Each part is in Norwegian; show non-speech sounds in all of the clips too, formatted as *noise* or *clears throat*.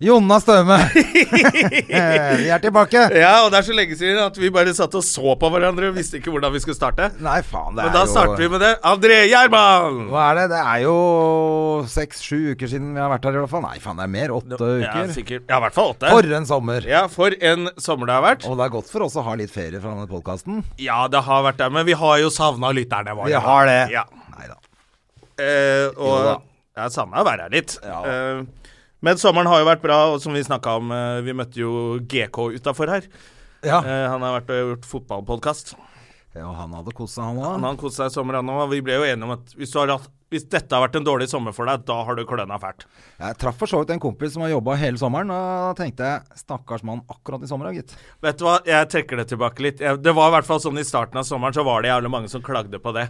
Jonna *laughs* Støme. Eh, vi er tilbake. Ja, og det er så lenge siden at vi bare satt og så på hverandre og visste ikke hvordan vi skulle starte. Nei, faen, det er Men da jo starter vi med det. André Gjerman! Hva er det? Det er jo seks-sju uker siden vi har vært her, i hvert fall. Nei, faen, det er mer. Åtte Ja, uker. sikkert. Ja, i hvert fall åtte. For en sommer. Ja, for en sommer det har vært. Og det er godt for oss å ha litt ferie fra denne podkasten. Ja, det har vært det, men vi har jo savna lytterne våre. Vi har det. Ja. Nei da. Eh, og Jo da. jeg er savna å være her litt. Ja. Eh, men sommeren har jo vært bra, og som vi snakka om, eh, vi møtte jo GK utafor her. Ja. Eh, han har vært og gjort fotballpodkast. Ja, og han hadde kost seg, han Han òg. har kost seg i sommer, han òg. og Vi ble jo enige om at hvis, du har hatt, hvis dette har vært en dårlig sommer for deg, da har du kløna fælt. Jeg traff for så vidt en kompis som har jobba hele sommeren, og da tenkte jeg stakkars mann akkurat i sommer, ja, gitt. Vet du hva, jeg trekker det tilbake litt. Jeg, det var i hvert fall sånn i starten av sommeren, så var det jævlig mange som klagde på det.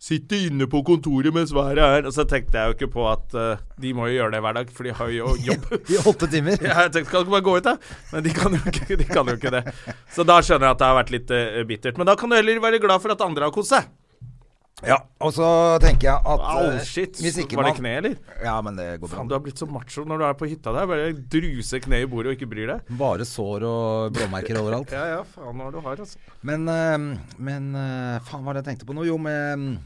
Sitte inne på kontoret mens været er Og så tenkte jeg jo ikke på at eh, de må jo gjøre det hver dag, for de har jo *laughs* jobb. I åtte timer. Ja, Jeg tenkte, kan du ikke bare gå ut, da? Men de kan, jo ikke, de kan jo ikke det. Så da skjønner jeg at det har vært litt eh, bittert. Men da kan du heller være glad for at andre har kost seg. Ja, og så tenker jeg at Au, eh, shit. Hvis ikke Var man- det kne, eller? Ja, men det går bra. Faen, du har blitt så macho når du er på hytta der. Bare druser kneet i bordet og ikke bryr deg. Bare sår og blåmerker overalt. *laughs* Ja, ja, faen hva du har, altså. Men, eh, men eh, faen, hva var det jeg tenkte på nå? Jo, med ehm,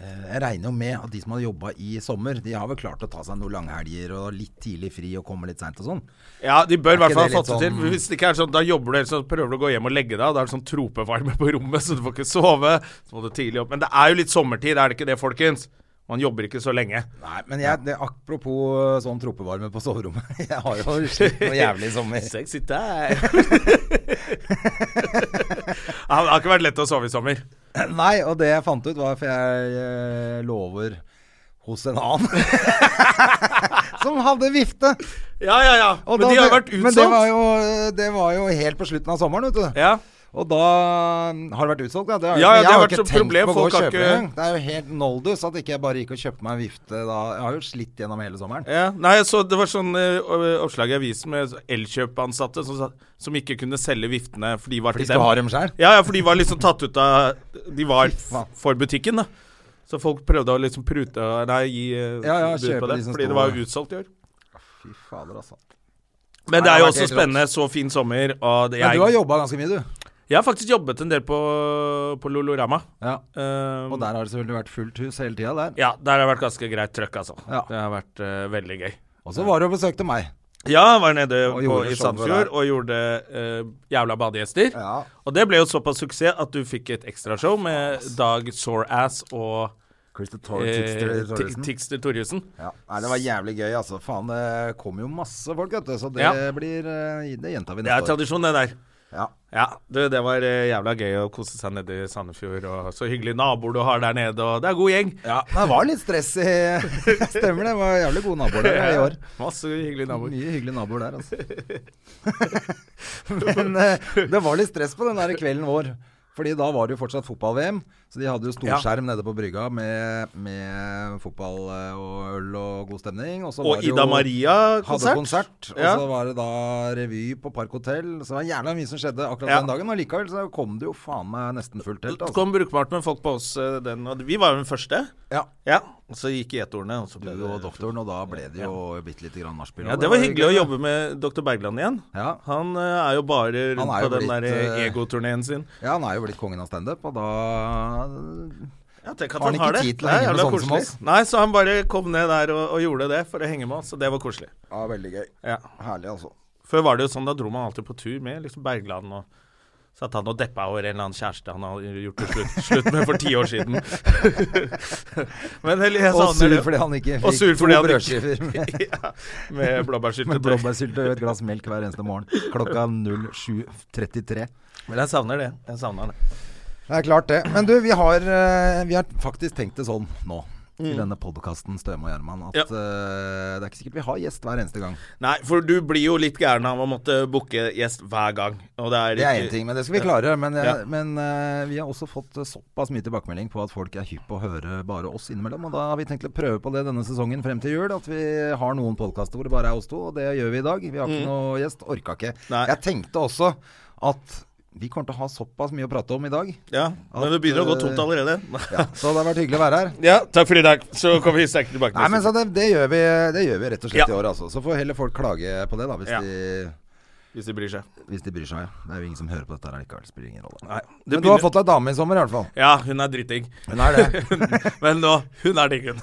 eh, Jeg regner jo med at de som har jobba i sommer, de har vel klart å ta seg noen langhelger og litt tidlig fri og komme litt seint og sånn. Ja, de bør i Er ikke hvert det fall ha litt fått det til. sånn- Hvis det ikke er sånn, da jobber du, eller så prøver du å gå hjem og legge deg, og da er det sånn tropevarme på rommet, så du får ikke sove. Så må du tidlig opp. Men det er jo litt sommertid, er det ikke det, folkens? Man jobber ikke så *laughs* lenge. Nei, men jeg, det, apropos eh, sånn tropevarme på soverommet. *laughs* Jeg har jo *laughs* slitt noe jævlig i sommer. Sexy time. *laughs* ja, men det har ikke vært lett å sove i sommer. Nei, og det jeg fant ut var For jeg eh, lover hos en annen *laughs* som hadde vifte. Ja, ja, ja. Og men da- de har vært Men det var, utsolgt. jo, eh, det var jo helt på slutten av sommeren, vet du. Ja. Og da mm, har det vært utsolgt, ja. Det har, Ja, men ja, det jeg har jo vært ikke så tenkt problem, på å gå og folk har kjøpe ikke- engang. Det er jo helt noldus at ikke jeg bare gikk og kjøpte meg en vifte da. Jeg har jo slitt gjennom hele sommeren. ja. Nei, jeg så det var sånn eh, o- oppslag i avisen med elkjøpansatte som, sa- som ikke kunne selge viftene, for de var De til skal dem. ha dem sjøl. Ja, ja, for de var liksom tatt ut av De var f- faen. for butikken, da. Så folk prøvde å liksom prute Nei, gi eh, Ja, ja, bud kjøpe på det. de som fordi sto- det var jo utsolgt i år. Fy fader, altså. Men det det har er jo vært også helt rått. spennende. Så fin sommer. Og det, Men du har jeg, jobba ganske mye, du. jeg har faktisk jobbet en del på, på Lolorama. Ja. Eh, Og der har det selvfølgelig vært fullt hus hele tida, der. Ja, der har det vært ganske greit trøkk, altså. Ja. Det har vært eh, veldig gøy. Og så var du og besøkte meg. Ja, jeg var nede Og på, gjorde i showet der. Sandfjord og gjorde eh, jævla badegjester. Ja. Og det ble jo såpass suksess at du fikk et ekstrashow med Dag Soreass og Christer Tor- eh, Tixter Torresen. Ti- Tixter Torjussen. Ja, Nei, det var jævlig gøy, altså. Faen, det kom jo masse folk, vet du. Så det Ja. blir eh, Det gjentar vi Det er neste år. tradisjon, det der. Ja. Ja, du, det var eh, jævla gøy å kose seg nede i Sandefjord, og så hyggelige naboer du har der nede, og det er god gjeng. ja. Det *laughs* var litt stress i *laughs* Stemmer det. Det var jævlig gode naboer der i år. Masse hyggelige naboer. Mye hyggelige naboer der, altså. *laughs* *laughs* Men eh, det var litt stress på den der kvelden vår. Fordi da var det jo fortsatt fotball-VM, så de hadde jo Ja. storskjerm nede på brygga med, med fotball eh, og øl og god stemning. Og, så var Og det jo- Ida Maria-konsert. Hadde konsert, og Ja. så var det da revy på Park Hotell. Så det var jævla mye som skjedde akkurat Ja. den dagen. Og likevel så kom det jo faen meg nesten fullt telt. Det Altså. kom brukbart med folk på oss eh, den, og vi var jo den første. Ja. Ja, og så gikk gjetordene, og så Du ble og det doktoren, og da ble det jo bitte lite grann nachspiel. Ja, og det var hyggelig å gøy, jobbe med dr. Bergland igjen. Ja. Han eh, er jo bare rundt Han er jo på den blitt, der eh, egoturneen sin. Ja, han er jo blitt kongen av standup, og da Ja, tenk at Har han han ikke har det. tid til å Nei, henge med jævla sånne som koselig. oss? Nei, så han bare kom ned der og, og gjorde det for å henge med oss, og det var koselig. Ja, veldig gøy. Ja. Herlig, altså. Før var det jo sånn, da dro man alltid på tur med liksom Bergland og Satt han og deppa over en eller annen kjæreste han hadde gjort det slutt, slutt med for ti år siden. *laughs* Men jeg, jeg Og sur savner det. fordi han ikke Og fikk sur fordi to han ikke- brødskiver med, *laughs* Ja, med med blåbærsyltetøy. blåbærsylte og et glass melk hver eneste morgen klokka 07.33. Men jeg savner det. Jeg savner det. Det er klart det. Men du, vi har, eh, vi har faktisk tenkt det sånn nå. i denne podkasten Støme og Gjerman at Mm. Ja. eh, det er ikke sikkert vi har gjest hver eneste gang. Nei, for du blir jo litt gæren av å måtte booke gjest hver gang. Og det er, Det er én ting, men det skal vi klare. Men, jeg, Ja. men eh, vi har også fått eh, såpass mye tilbakemelding på at folk er hypp på å høre bare oss innimellom. Og da har vi tenkt å prøve på det denne sesongen frem til jul. At vi har noen podkaster hvor det bare er oss to, og det gjør vi i dag. Vi har ikke noe gjest. Orka ikke. Mm. Nei. Jeg tenkte også at vi kommer til å ha såpass mye å prate om i dag. Ja, men det begynner å gå tomt allerede. Ja, så det har vært hyggelig å være her. *laughs* Ja, takk for i dag. Så kommer vi sterkt tilbake. Nei, men så det, det, gjør vi, det gjør vi rett og slett Ja. i år, altså. Så får heller folk klage på det, da, hvis, Ja. de, Hvis de bryr seg. hvis de bryr seg. Ja. Det er jo ingen som hører på dette her likevel. Spiller ingen rolle. Nei, det Men du har begynner- fått deg dame i sommer, i hvert fall. Ja, hun er dritting. Hun er det. Men nå, hun er digg, *laughs* hun.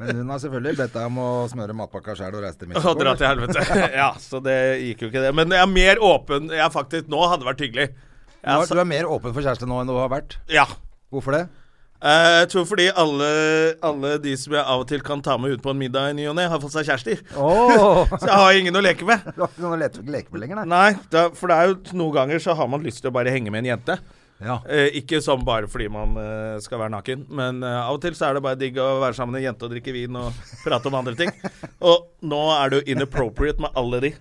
Men hun har selvfølgelig bedt deg om å smøre matpakka sjæl og reise til Og dra Mexico. til helvete. *laughs* Ja, så det gikk jo ikke, det. Men jeg er mer åpen jeg er faktisk Nå hadde det vært hyggelig. Jeg Nå er er- Du er mer åpen for kjæreste nå enn du har vært. sa- ja. Hvorfor det? Eh, Jeg tror fordi alle, alle de som jeg av og til kan ta med ut på en middag i ny og ne, har fått seg kjærester. Åh Så jeg har ingen å leke med. *laughs* Du har ikke noen å lete- leke med lenger, nei? Nei, da, for det er jo noen ganger så har man lyst til å bare henge med en jente. Ja. *laughs* Eh, ikke sånn bare fordi man eh, skal være naken, men eh, av og til så er det bare digg å være sammen med en jente og drikke vin og *laughs* prate om andre ting. Og nå er det jo inappropriate med alle de,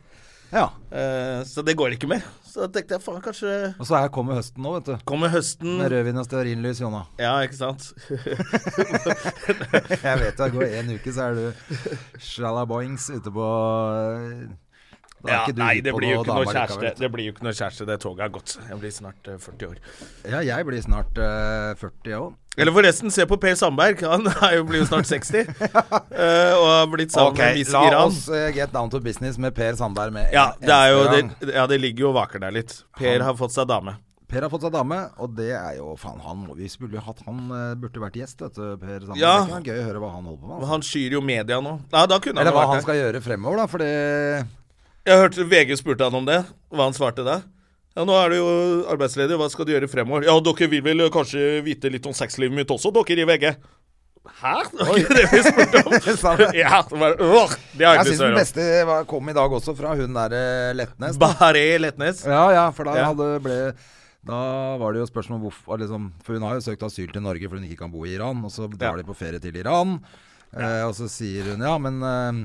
ja. Eh, så det går ikke mer. Så da tenkte jeg faen, kanskje Og så her kommer høsten nå, vet du. kommer høsten. Med rødvin og stearinlys, Jonna. *laughs* Ja, ikke sant. Jeg vet det går en uke, så er du shalaboings ute på Da er Ja, ikke du nei, hypp det på blir jo ikke noe damer likevel, kjæreste. vet du. Det blir jo ikke noe kjæreste. Det toget er gått. Jeg blir snart eh, 40 år. Ja, jeg blir snart eh, 40 òg. Eller forresten, se på Per Sandberg. Han *laughs* er jo, blir jo snart 60. eh, og har blitt sammen Ok, med Miss la Iran. oss eh, get down to business med Per Sandberg med en Ja, det, er jo, eneste gang. det, ja, det ligger jo og vaker der litt. Per har fått seg dame. Per har fått seg dame, og det er jo faen han må Vi skulle jo hatt han eh, burde vært gjest, vet du, Per Sandberg. Ja. Det er ikke gøy å høre hva han holder på med. Og Altså. Han skyr jo media nå. Ja, da kunne Eller han, hva jo vært han skal gjøre fremover, da, for det det. Jeg hørte VG spurte han om det, hva han svarte da. Ja, nå er du jo arbeidsledig, hva skal du gjøre fremover? Ja, dere vil vel kanskje vite litt om sexlivet mitt også, dere i VG? Hæ? Det var ikke det vi spurte om. Sa han *laughs* det? ja, det var, åh, det har Jeg jeg ikke syns den lyst til å høre om. beste var, kom i dag også, fra hun der eh, Letnes. da. Bahareh Letnes. Ja, ja, for da Ja. hadde ble da var det jo spørsmål hvorfor liksom, For hun har jo søkt asyl til Norge fordi hun ikke kan bo i Iran, og så drar Ja. de på ferie til Iran. Eh, og så sier hun ja, men eh,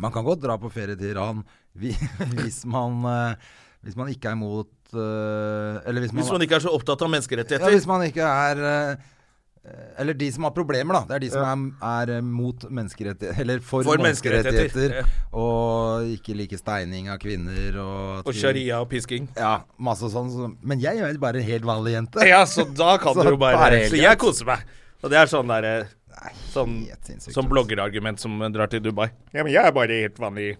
man kan godt dra på ferie til Iran *laughs* vi, hvis man eh, Hvis man ikke er imot eh, Eller hvis man, Hvis man ikke er så opptatt av ja, menneskerettigheter. hvis man ikke er eh, Eller de som har problemer, da. Det er de som er, er mot menneskerettigheter Eller for, For menneskerettigheter, menneskerettigheter. Og ikke like steining av kvinner. Og, at Og vi- sharia og pisking. ja, masse sånn. som- Men jeg er jo bare en helt vanlig jente. Ja, så da kan Så du jo bare bare helt Så jeg greit. koser meg. Og det er sånn derre Sånn, helt sinnssykt, sånn altså. bloggerargument som drar til Dubai. Ja, men jeg er bare helt vanlig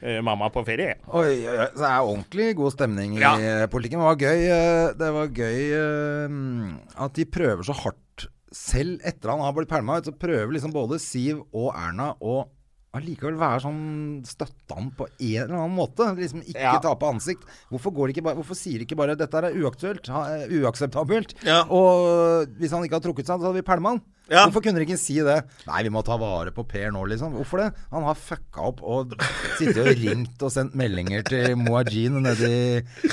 eh, mamma på ferie. Oi, oi, oi. Så det er ordentlig god stemning i Ja. eh, politikken. Det var gøy, eh, det var gøy eh, mm, at de prøver så hardt. Selv etter han har blitt pælma ut, så prøver liksom både Siv og Erna å allikevel være sånn støtte han på en eller annen måte. Liksom ikke Ja. tape ansikt. Hvorfor, går de ikke bare, hvorfor sier de ikke bare 'dette her er uaktuelt, ha- eh, uakseptabelt'? Ja. Og hvis han ikke hadde trukket seg, så hadde vi pælma han. Ja. Hvorfor kunne de ikke si det? Nei, vi må ta vare på Per nå, liksom. Hvorfor det? Han har fucka opp og sittet og ringt og sendt meldinger til Moajin nede i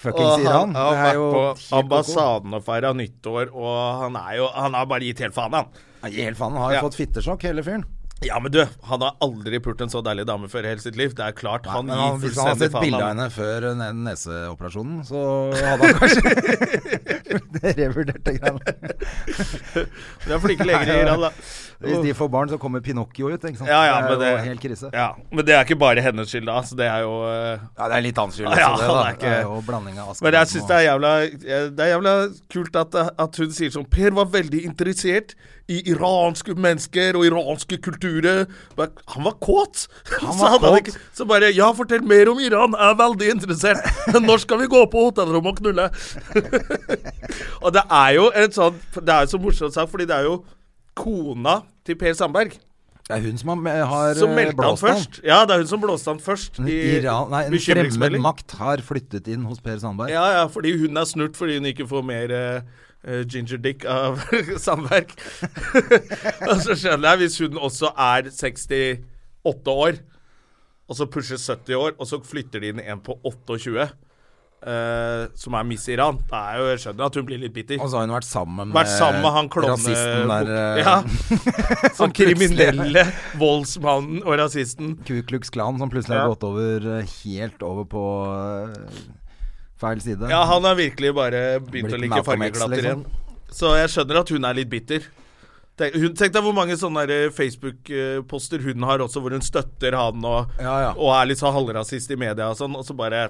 fuckings Iran. har Det er vært jo helt på koko. ambassaden og feira nyttår, og han er jo Han har bare gitt helt faen, han. Nei, Helt faen, han har jo Ja. fått fittesjokk, hele fyren. Ja, men du, han har aldri pult en så deilig dame før i hele sitt liv. Det er klart, han Men gir han, hvis han hadde fullstendig sett faen. bilde av Han. henne før ne- neseoperasjonen, så hadde han kanskje *laughs* Det revurderte greiene. Du er *laughs* flinke leger i Iran, da. Hvis de får barn, så kommer Pinocchio ut, ikke sant. Ja, ja, men det er det, jo helt krise. ja, men det er ikke bare hennes skyld, da. Så det er jo eh, Ja, det er litt hans skyld Ja, også, det, da. han er ikke- Det er jo blanding av Askeladden Men jeg syns og- det er jævla eh, Det er jævla kult at, at hun sier sånn Per var veldig interessert i iranske mennesker og iranske kulturer. Men Han var kåt! *laughs* Han så, var hadde han kåt. ikke, så bare Ja, fortell mer om Iran! Jeg er veldig interessert! *laughs* Når skal vi gå på hotellrommet og knulle? *laughs* og det er jo en sånn Det er jo så morsomt sagt, fordi det er jo kona til Per Sandberg Det er hun som har, har eh, som meldte han blåst han. først. Ja, det er hun som blåste han først. En i Iran, nei, en fremmed bekymringsmelding. makt har flyttet inn hos Per Sandberg. Ja, ja, fordi hun er snurt fordi hun ikke får mer eh, eh, ginger dick av *laughs* samverk. og så skjønner jeg hvis hun også er 68 år, og så pusher 70 år, og så flytter de inn en på 28. eh, som er Miss Iran. Da er jo, jeg skjønner at hun blir litt bitter. Og så har hun vært sammen med, Vært sammen med han klovne... rasisten der eh, *laughs* Ja. som Han kriminelle voldsmannen og rasisten. Ku Klux Klan som plutselig har Ja. gått over eh, helt over på eh, feil side. Ja, han har virkelig bare begynt Blitt å like Malcolm X, fargeklatter liksom. igjen. Så jeg skjønner at hun er litt bitter. Tenk, hun, tenk deg hvor mange sånne der eh, Facebook-poster hun har også, hvor hun støtter han og, Ja, ja. og er litt sånn halvrasist i media og sånn, og så bare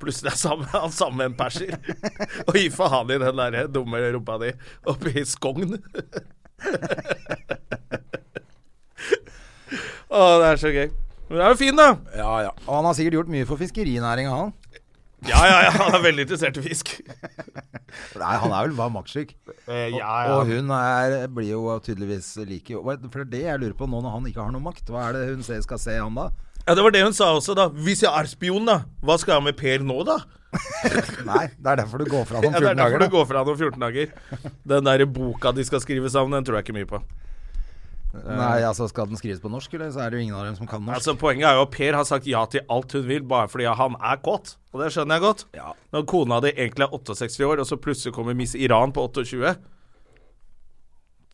Plutselig er sammen, han sammen med en perser. *laughs* og gi faen i den der dumme rumpa di oppe i Skogn. *laughs* Å, det er så gøy. Men det er jo fin, da. ja, ja. Og han har sikkert gjort mye for fiskerinæringa, han. Ja, ja, ja. Han er veldig interessert i fisk. Nei, han er vel bare maktsyk. Eh, ja, ja. Og hun er, blir jo tydeligvis like Hva- For det er det jeg lurer på nå når han ikke har noe makt. Hva er det hun ser, skal se han da? Ja, Det var det hun sa også, da. Hvis jeg er spion, da, hva skal jeg ha med Per nå, da? Nei, det er derfor du går fra han om *laughs* Ja, det 14 er derfor dager. du Da. går fra han om 14 dager. Den der boka de skal skrive sammen, den tror jeg ikke mye på. Nei, altså Skal den skrives på norsk, eller så er det jo ingen av dem som kan *laughs* norsk? Altså, Poenget er jo at Per har sagt ja til alt hun vil, bare fordi han er kåt. Og det skjønner jeg godt. Ja. Når kona di egentlig er 68 år, og så plutselig kommer Miss Iran på 28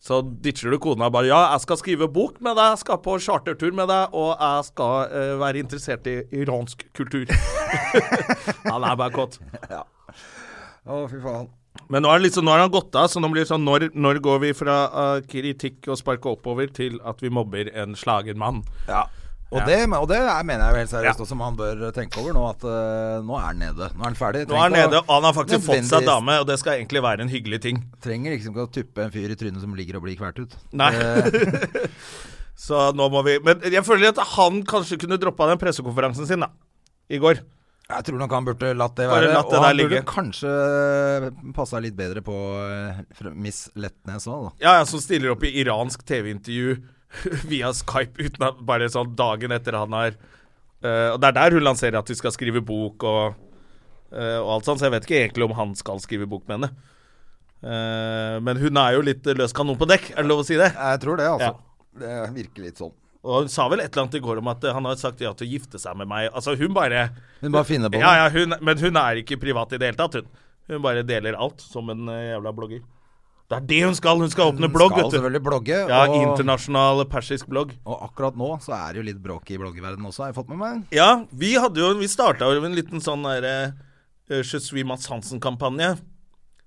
så ditcher du kona og bare 'Ja, jeg skal skrive bok med deg, jeg skal på chartertur med deg', 'og jeg skal eh, være interessert i iransk kultur'. *laughs* Han er bare kåt. Å, fy faen. Men nå er det liksom, nå har han gått av, så nå blir det sånn Når, når går vi fra eh, kritikk og sparke oppover til at vi mobber en slagen mann? Ja. Og, Ja. Det, og det er, mener jeg jo helt seriøst Ja. også, som han bør tenke over nå, at eh, nå er han nede. Nå er han ferdig. Nå er han Trenger ikke nede, å- og han har faktisk fått seg nødvendigvis- dame, og det skal egentlig være en hyggelig ting. Trenger liksom ikke å tuppe en fyr i trynet som ligger og blir kvert ut. Nei. Eh, *laughs* så nå må vi Men jeg føler at han kanskje kunne droppa den pressekonferansen sin, da. I går. Jeg tror nok han burde latt det Bare være. latt det og der han burde ligge. kanskje passa litt bedre på eh, fra Miss Letnes òg, da. Ja, ja, som stiller opp i iransk TV-intervju *laughs* via Skype uten at bare sånn dagen etter han har eh, Og det er der hun lanserer at de skal skrive bok og, eh, og alt sånt, så jeg vet ikke egentlig om han skal skrive bok med henne. Eh, men hun er jo litt løs kanon på dekk, er det lov å si det? Jeg tror det, altså. Ja. Det virker litt sånn. Og hun sa vel et eller annet i går om at eh, han har sagt ja til å gifte seg med meg. Altså, hun bare Hun bare finner på det. Ja, ja, hun, men hun er ikke privat i det hele tatt, hun. Hun bare deler alt som en eh, jævla blogger. Det er det hun skal! Hun skal åpne blogg, Skal vet du. selvfølgelig blogge. Ja, og, internasjonal persisk blogg. og akkurat nå så er det jo litt bråk i bloggerverdenen også, har jeg fått med meg. Ja, vi hadde jo Vi starta jo en liten sånn derre eh, Je suis Mats Hansen-kampanje.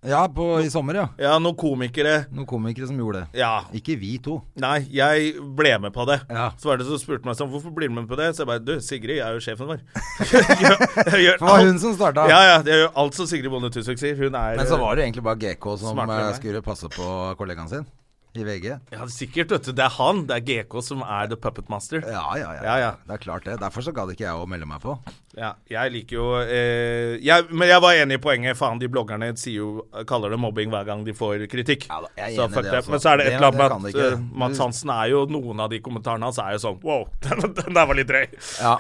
Ja, på, i sommer, ja. Ja, noen komikere Noen komikere som gjorde det. Ja. Ikke vi to. Nei, jeg ble med på det. Ja. Så var det som spurte meg sånn Hvorfor blir du med på det? Så jeg bare Du, Sigrid jeg er jo *laughs* sjefen vår. *laughs* jeg gjør, jeg gjør Det var alt- hun som starta. Ja, ja. Jeg gjør alt som Sigrid Bonde Tusvik sier. Hun er Men så var det jo egentlig bare GK som Smartere enn eh, meg. skulle passe på kollegaen sin i VG. eh, Ja, sikkert, vet du. Det er han. Det er GK som er the puppet master. Ja, ja, ja. Ja, ja. Det er klart det. Derfor så gadd ikke jeg å melde meg på. Ja, jeg liker jo eh, jeg, Men jeg var enig i poenget. Faen, de bloggerne sier jo, kaller det mobbing hver gang de får kritikk. Ja da, jeg er så enig i fuck det det. også. Men så er det et Det- eller annet det med kan at det ikke. Mm. eh, Mads Hansen er jo Noen av de kommentarene hans er jo sånn Wow, *laughs* den, den der var litt drøy. Ja,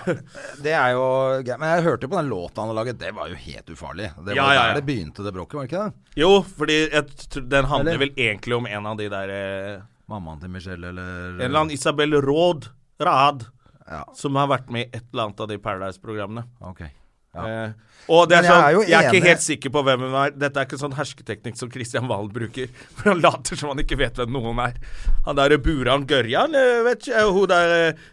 det er jo greit. Men jeg hørte jo på den låta han har laget. Det var jo helt ufarlig. Det var Ja, ja, ja. der det begynte, det bråket, var det ikke det? Jo, fordi jeg, tr- den handler Eller- vel egentlig om en av de der eh, Mammaen til Michelle, eller En eller annen Isabel Råd Rahad. Ja. Som har vært med i et eller annet av de Paradise-programmene. Ok. Eh, og det er Men jeg sånn, er jo jeg er, ikke enig. helt sikker på hvem hun er. Dette er ikke sånn hersketeknikk som Christian Valen bruker. *laughs* For han later som han ikke vet hvem noen er. Han der Buran Gørjan, eh, vet ikke, eh, hun der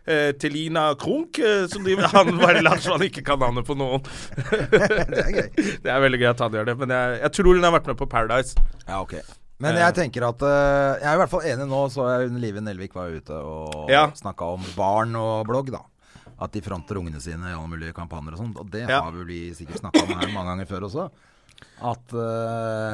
eh, Telina Krunk eh, som driver *laughs* Han bare later som han ikke kan navnet på noen. Det er gøy. *laughs* Det er veldig gøy at han gjør det, men jeg, jeg tror hun har vært med på Paradise. Ja, ok. Men jeg tenker at eh, Jeg er i hvert fall enig nå, så jeg under Live Nelvik var ute og Ja. snakka om barn og blogg, da. At de fronter ungene sine i alle mulige kampanjer og sånt. Og det Ja. har vel vi sikkert snakka om her mange ganger før også. At eh,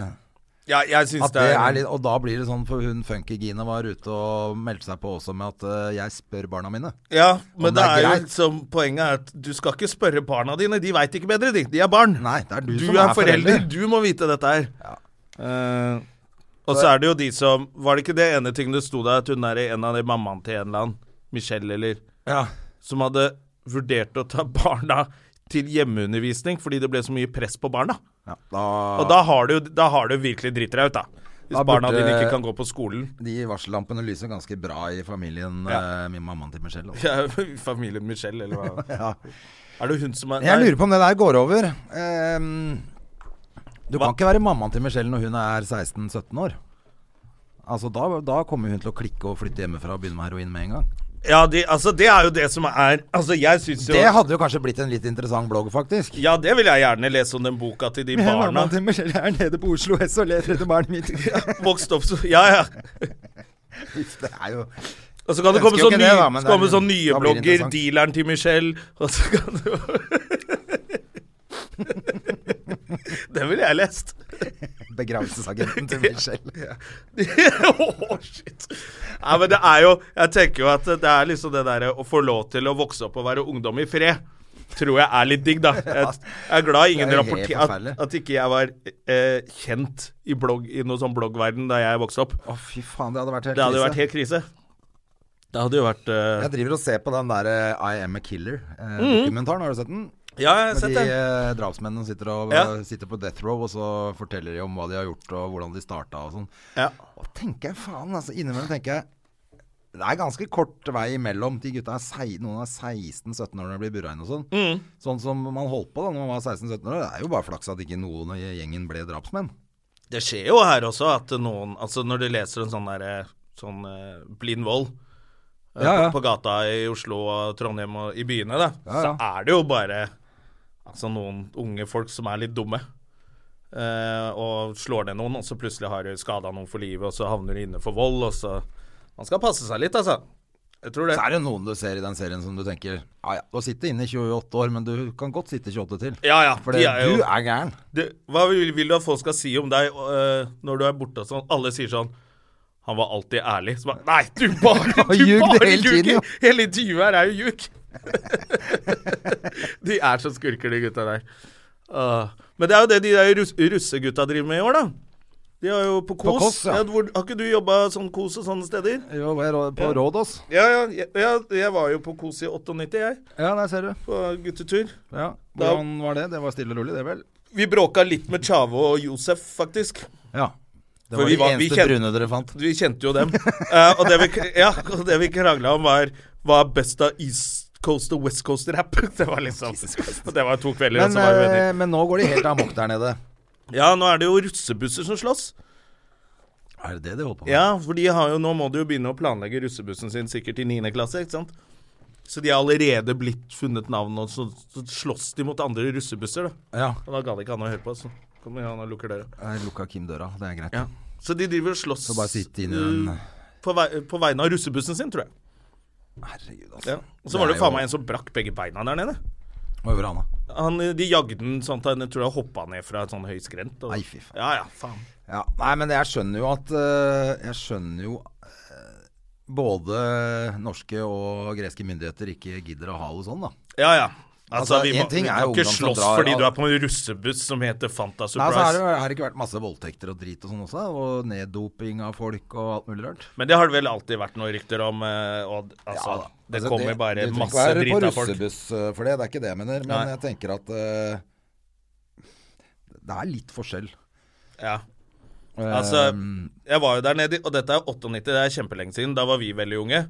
Ja, jeg synes At det er litt, og da blir det sånn, for hun Funky-Gina var ute og meldte seg på også med at eh, jeg spør barna mine. Ja, men Om det det er, er jo greit. liksom Poenget er at du skal ikke spørre barna dine. De veit ikke bedre, de. De er barn. Nei, det er du, Du som er forelder, du må vite dette her. Eh, og så er det jo de som Var det ikke det ene tingen det sto der, at hun er en av de mammaene til en eller annen, Michelle eller Ja. Som hadde vurdert å ta *laughs* barna til hjemmeundervisning fordi det ble så mye press på barna. ja da, Og da har du, da har du virkelig driti deg ut, da. Hvis Da barna burde- dine ikke kan gå på skolen. *laughs* De varsellampene lyser ganske bra i familien Ja. eh, min mammaen til Michelle. altså. Ja, Familien Michelle, eller hva? *laughs* Ja. Er det hun som er Jeg Nei. lurer på om det der går over. Ehm, du Hva? kan ikke være mammaen til Michelle når hun er 16-17 år. Altså da, da kommer hun til å klikke og flytte hjemmefra og begynne med heroin med en gang. Ja, de, altså, det er jo det som er Altså, jeg syns jo Det hadde jo kanskje blitt en litt interessant blogg, faktisk. Ja, det vil jeg gjerne lese om den boka til de *laughs* barna. Mammaen til Michelle er nede på Oslo S og leter etter barnet mitt. Uff, Vokst opp så Ja, ja. det er jo Og så kan det Jeg komme ønsker jo sånn, ikke ny, det, da, men så kommer det er- sånn da nye blir det blogger, interessant. dealeren til Michelle, og så kan det *laughs* Den ville jeg lest. *laughs* begravelsesagenten *laughs* til Michelle. Åh, shit. Nei, men det er jo Jeg tenker jo at det er liksom det derre å få lov til å vokse opp og være ungdom i fred. Tror jeg er litt digg, *laughs* da. Jeg, jeg er glad ingen Det er jo helt rapporterer at, forferdelig. at ikke jeg var eh, kjent i, blogg, i noe sånn bloggverden da jeg vokste opp. Å, fy faen, det hadde vært helt Det hadde jo krise. vært helt krise. Det hadde jo vært eh, Jeg driver og ser på den der eh, I am a Mhm. killer-dokumentaren. har du sett den? Ja, jeg har Med sett de det. eh, drapsmennene som sitter, og, Ja. sitter på death row, og så forteller de om hva de har gjort, og hvordan de starta og sånn. Ja. Og tenker jeg, faen, altså innimellom tenker jeg det er ganske kort vei imellom. De gutta er sei, noen er 16-17 år når de blir burra inn og sånn. Mm. Sånn som man holdt på da når man var 16-17 år. Det er jo bare flaks at ikke noen i gjengen ble drapsmenn. Det skjer jo her også at noen Altså, når du leser en sånn derre sånn eh, blind vold eh, Ja, ja. På, på gata i Oslo og Trondheim og i byene, da, Ja, ja. så er det jo bare altså noen unge folk som er litt dumme. eh, og slår ned noen, og så plutselig har du skada noen for livet, og så havner du inne for vold, og så Man skal passe seg litt, altså. Jeg tror det. Så er det noen du ser i den serien som du tenker Ja ja, du sitter inne i 28 år, men du kan godt sitte 28 til. Ja, ja. For de det- er jo- du er gæren. Det, hva vil, vil du at folk skal si om deg øh, når du er borte og sånn? Alle sier sånn Han var alltid ærlig. Så bare Nei, du bare Han du ljug bare hele tiden, jo. ljuger! Hele intervjuet her er jo ljug! *laughs* de er så skurker, de gutta der. Ah, men det er jo det de der russ, russegutta driver med i år, da. De har jo på KOS. Kos, ja. ja. hvor, har ikke du jobba sånn KOS og sånne steder? Jo, jeg er rå- på Rådås. Ja, ja, jeg, ja, jeg var jo på KOS i 98, jeg. Ja, der ser du. På guttetur. Ja. Hvordan var det? Det var stille og rolig, det vel? Vi bråka litt med Chavo og Josef, faktisk. Ja. Det For var vi de var- vi eneste kjente- brune dere fant. Vi kjente jo dem. Eh, og det vi, ja, og det vi krangla om, var hva er best av East Coast og West Coast-rap. *laughs* Det var liksom Og det var to kvelder, og Men, så var vi eh, venner. men nå går de helt amok der nede. Ja, nå er det jo russebusser som slåss. Er det det de holder på med? Ja, for de har jo, nå må de jo begynne å planlegge russebussen sin sikkert i 9. klasse, ikke sant? Så de har allerede blitt funnet navn, og så, så slåss de mot andre russebusser, da. Ja. Og da gadd ikke han å høre på, så kommer han og lukker døra. Jeg lukka Kim døra, det er greit. Ja. Så de driver og slåss Så bare sitte inne i den eh, på, vei, på vegne av russebussen sin, tror jeg. Herregud, altså. Ja. Og så var det er jo faen jo- meg en som brakk begge beina der nede. Hva gjorde han da? Han, de jagde den sånn at jeg tror jeg hoppa ned fra et sånn høy skrent. og- Nei, fy faen. Ja, ja, faen. Ja, nei, men jeg skjønner jo at eh, Jeg skjønner jo eh, både norske og greske myndigheter ikke gidder å ha det sånn, da. Ja, ja. Altså, Altså, vi må, en ting vi er må jo ikke ungdom som slåss drar fordi av- du er på en russebuss som heter Fanta Nei, så har Surprise. det, Altså, har det ikke vært masse voldtekter og drit og sånn også? Og neddoping av folk og alt mulig rart? Men det har det vel alltid vært noen rykter om. eh, Og, altså, Ja, da. det Altså, kommer bare du trenger masse ikke være drita på folk. russebuss eh, for det, det er ikke det jeg mener. Men Nei. jeg tenker at eh, det er litt forskjell. Ja. Eh, Altså, jeg var jo der nede, og dette er 98, det er kjempelenge siden. Da var vi veldig unge.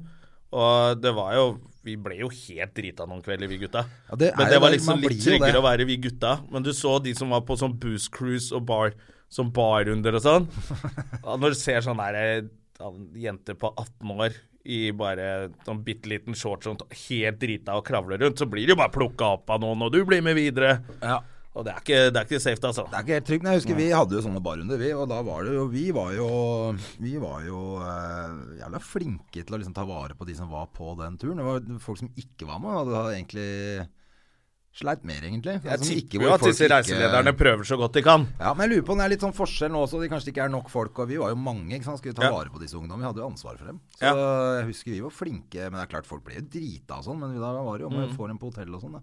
Og det var jo Vi ble jo helt drita noen kvelder, vi gutta. Ja, det er men det jo var det, liksom man litt blir jo det. tryggere å være vi gutta. Men du så de som var på sånn booze cruise og bar som barunder og sånn. *laughs* Og når du ser sånn der eh, ja, en jente på 18 år i bare sånn bitte liten shorts sånn, helt drita og kravler rundt, så blir de jo bare plukka opp av noen, og du blir med videre. Ja. Og det er ikke, det er ikke safe, altså. Det er ikke helt trygt, men jeg husker vi hadde jo sånne barrunder, vi. Og da var det jo Vi var jo Vi var jo eh, jævla flinke til å liksom ta vare på de som var på den turen. Det var folk som ikke var med, og det hadde egentlig sleit mer, egentlig. Jeg Altså, som ikke- tipper hvor jo at folk disse ikke- reiselederne prøver så godt de kan. Ja, men jeg lurer på om det er litt sånn forskjell nå også. De kanskje ikke er nok folk, og vi var jo mange. ikke sant? Skulle ta Ja. vare på disse ungdommene. Vi hadde jo ansvar for dem. Så Ja. jeg husker vi var flinke. Men det er klart folk ble jo drita og sånn. Men da var det jo om Mm. å få dem på hotell og sånn, da.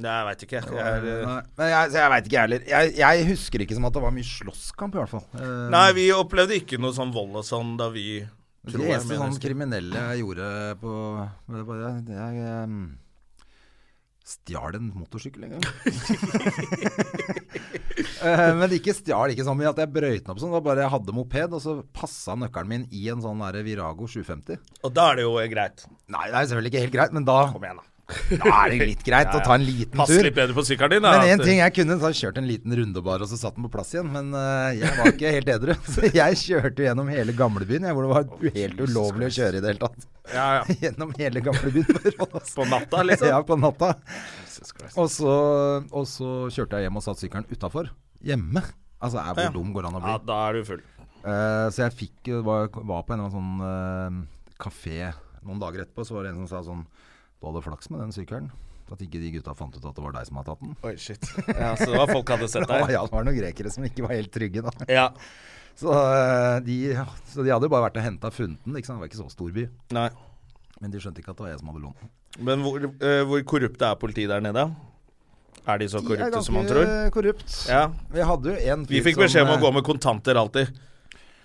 Nei, jeg veit ikke. Jeg er, eh, Nei, Men jeg, så jeg veit ikke, jeg heller. Jeg, jeg husker ikke som at det var mye slåsskamp, i hvert fall. Eh, Nei, vi opplevde ikke noe sånn vold og sånn da vi tror Det jeg eneste mener sånn husker. kriminelle jeg gjorde på det ehm, var- Jeg, jeg em, *laughs* stjal en motorsykkel en gang. Eh, men ikke stjal ikke så mye at jeg brøyt den opp sånn. Det var bare jeg hadde moped, og så passa nøkkelen min i en sånn der Virago 750. Og da er det jo eh, greit. Nei, det er selvfølgelig ikke helt greit, men da Kom igjen, da. Da er det litt greit å ta en liten Pass tur. litt bedre på sykkelen din. da, Men én at- ting jeg kunne, så hadde jeg kjørt en liten runde bare, og så satt den på plass igjen. Men eh, jeg var ikke helt edru. *laughs* Så jeg kjørte jo gjennom hele gamlebyen, jeg, hvor det var u- helt ulovlig å kjøre i det hele tatt. Ja, *laughs* ja. Gjennom hele gamlebyen på Rås. På natta, liksom. sånn. Ja, på natta. Og så, og så kjørte jeg hjem og satt sykkelen utafor. Hjemme. Altså, er hvor Ja. dum går det an å bli? ja, da er du full. Eh, så jeg fikk, jo- var, var på en eller annen sånn eh, kafé noen dager etterpå, så var det en som sa sånn Du hadde flaks med den sykkelen. At ikke de gutta fant ut at det var deg som hadde tatt den. Oi, shit. Ja, så det var folk hadde *laughs* sett Ja, deg. ja, det var noen grekere som ikke var helt trygge, da. Ja. Så, eh, de, ja, så de hadde jo bare vært og henta funnet den. Ikke sant? Det var ikke så stor by. Nei. Men de skjønte ikke at det var jeg som hadde lånt den. Men hvor, eh, hvor korrupte er politiet der nede? Er de så korrupte som man tror? korrupt. Ja. Vi hadde jo en Vi fyr fikk beskjed om å eh, gå med kontanter alltid.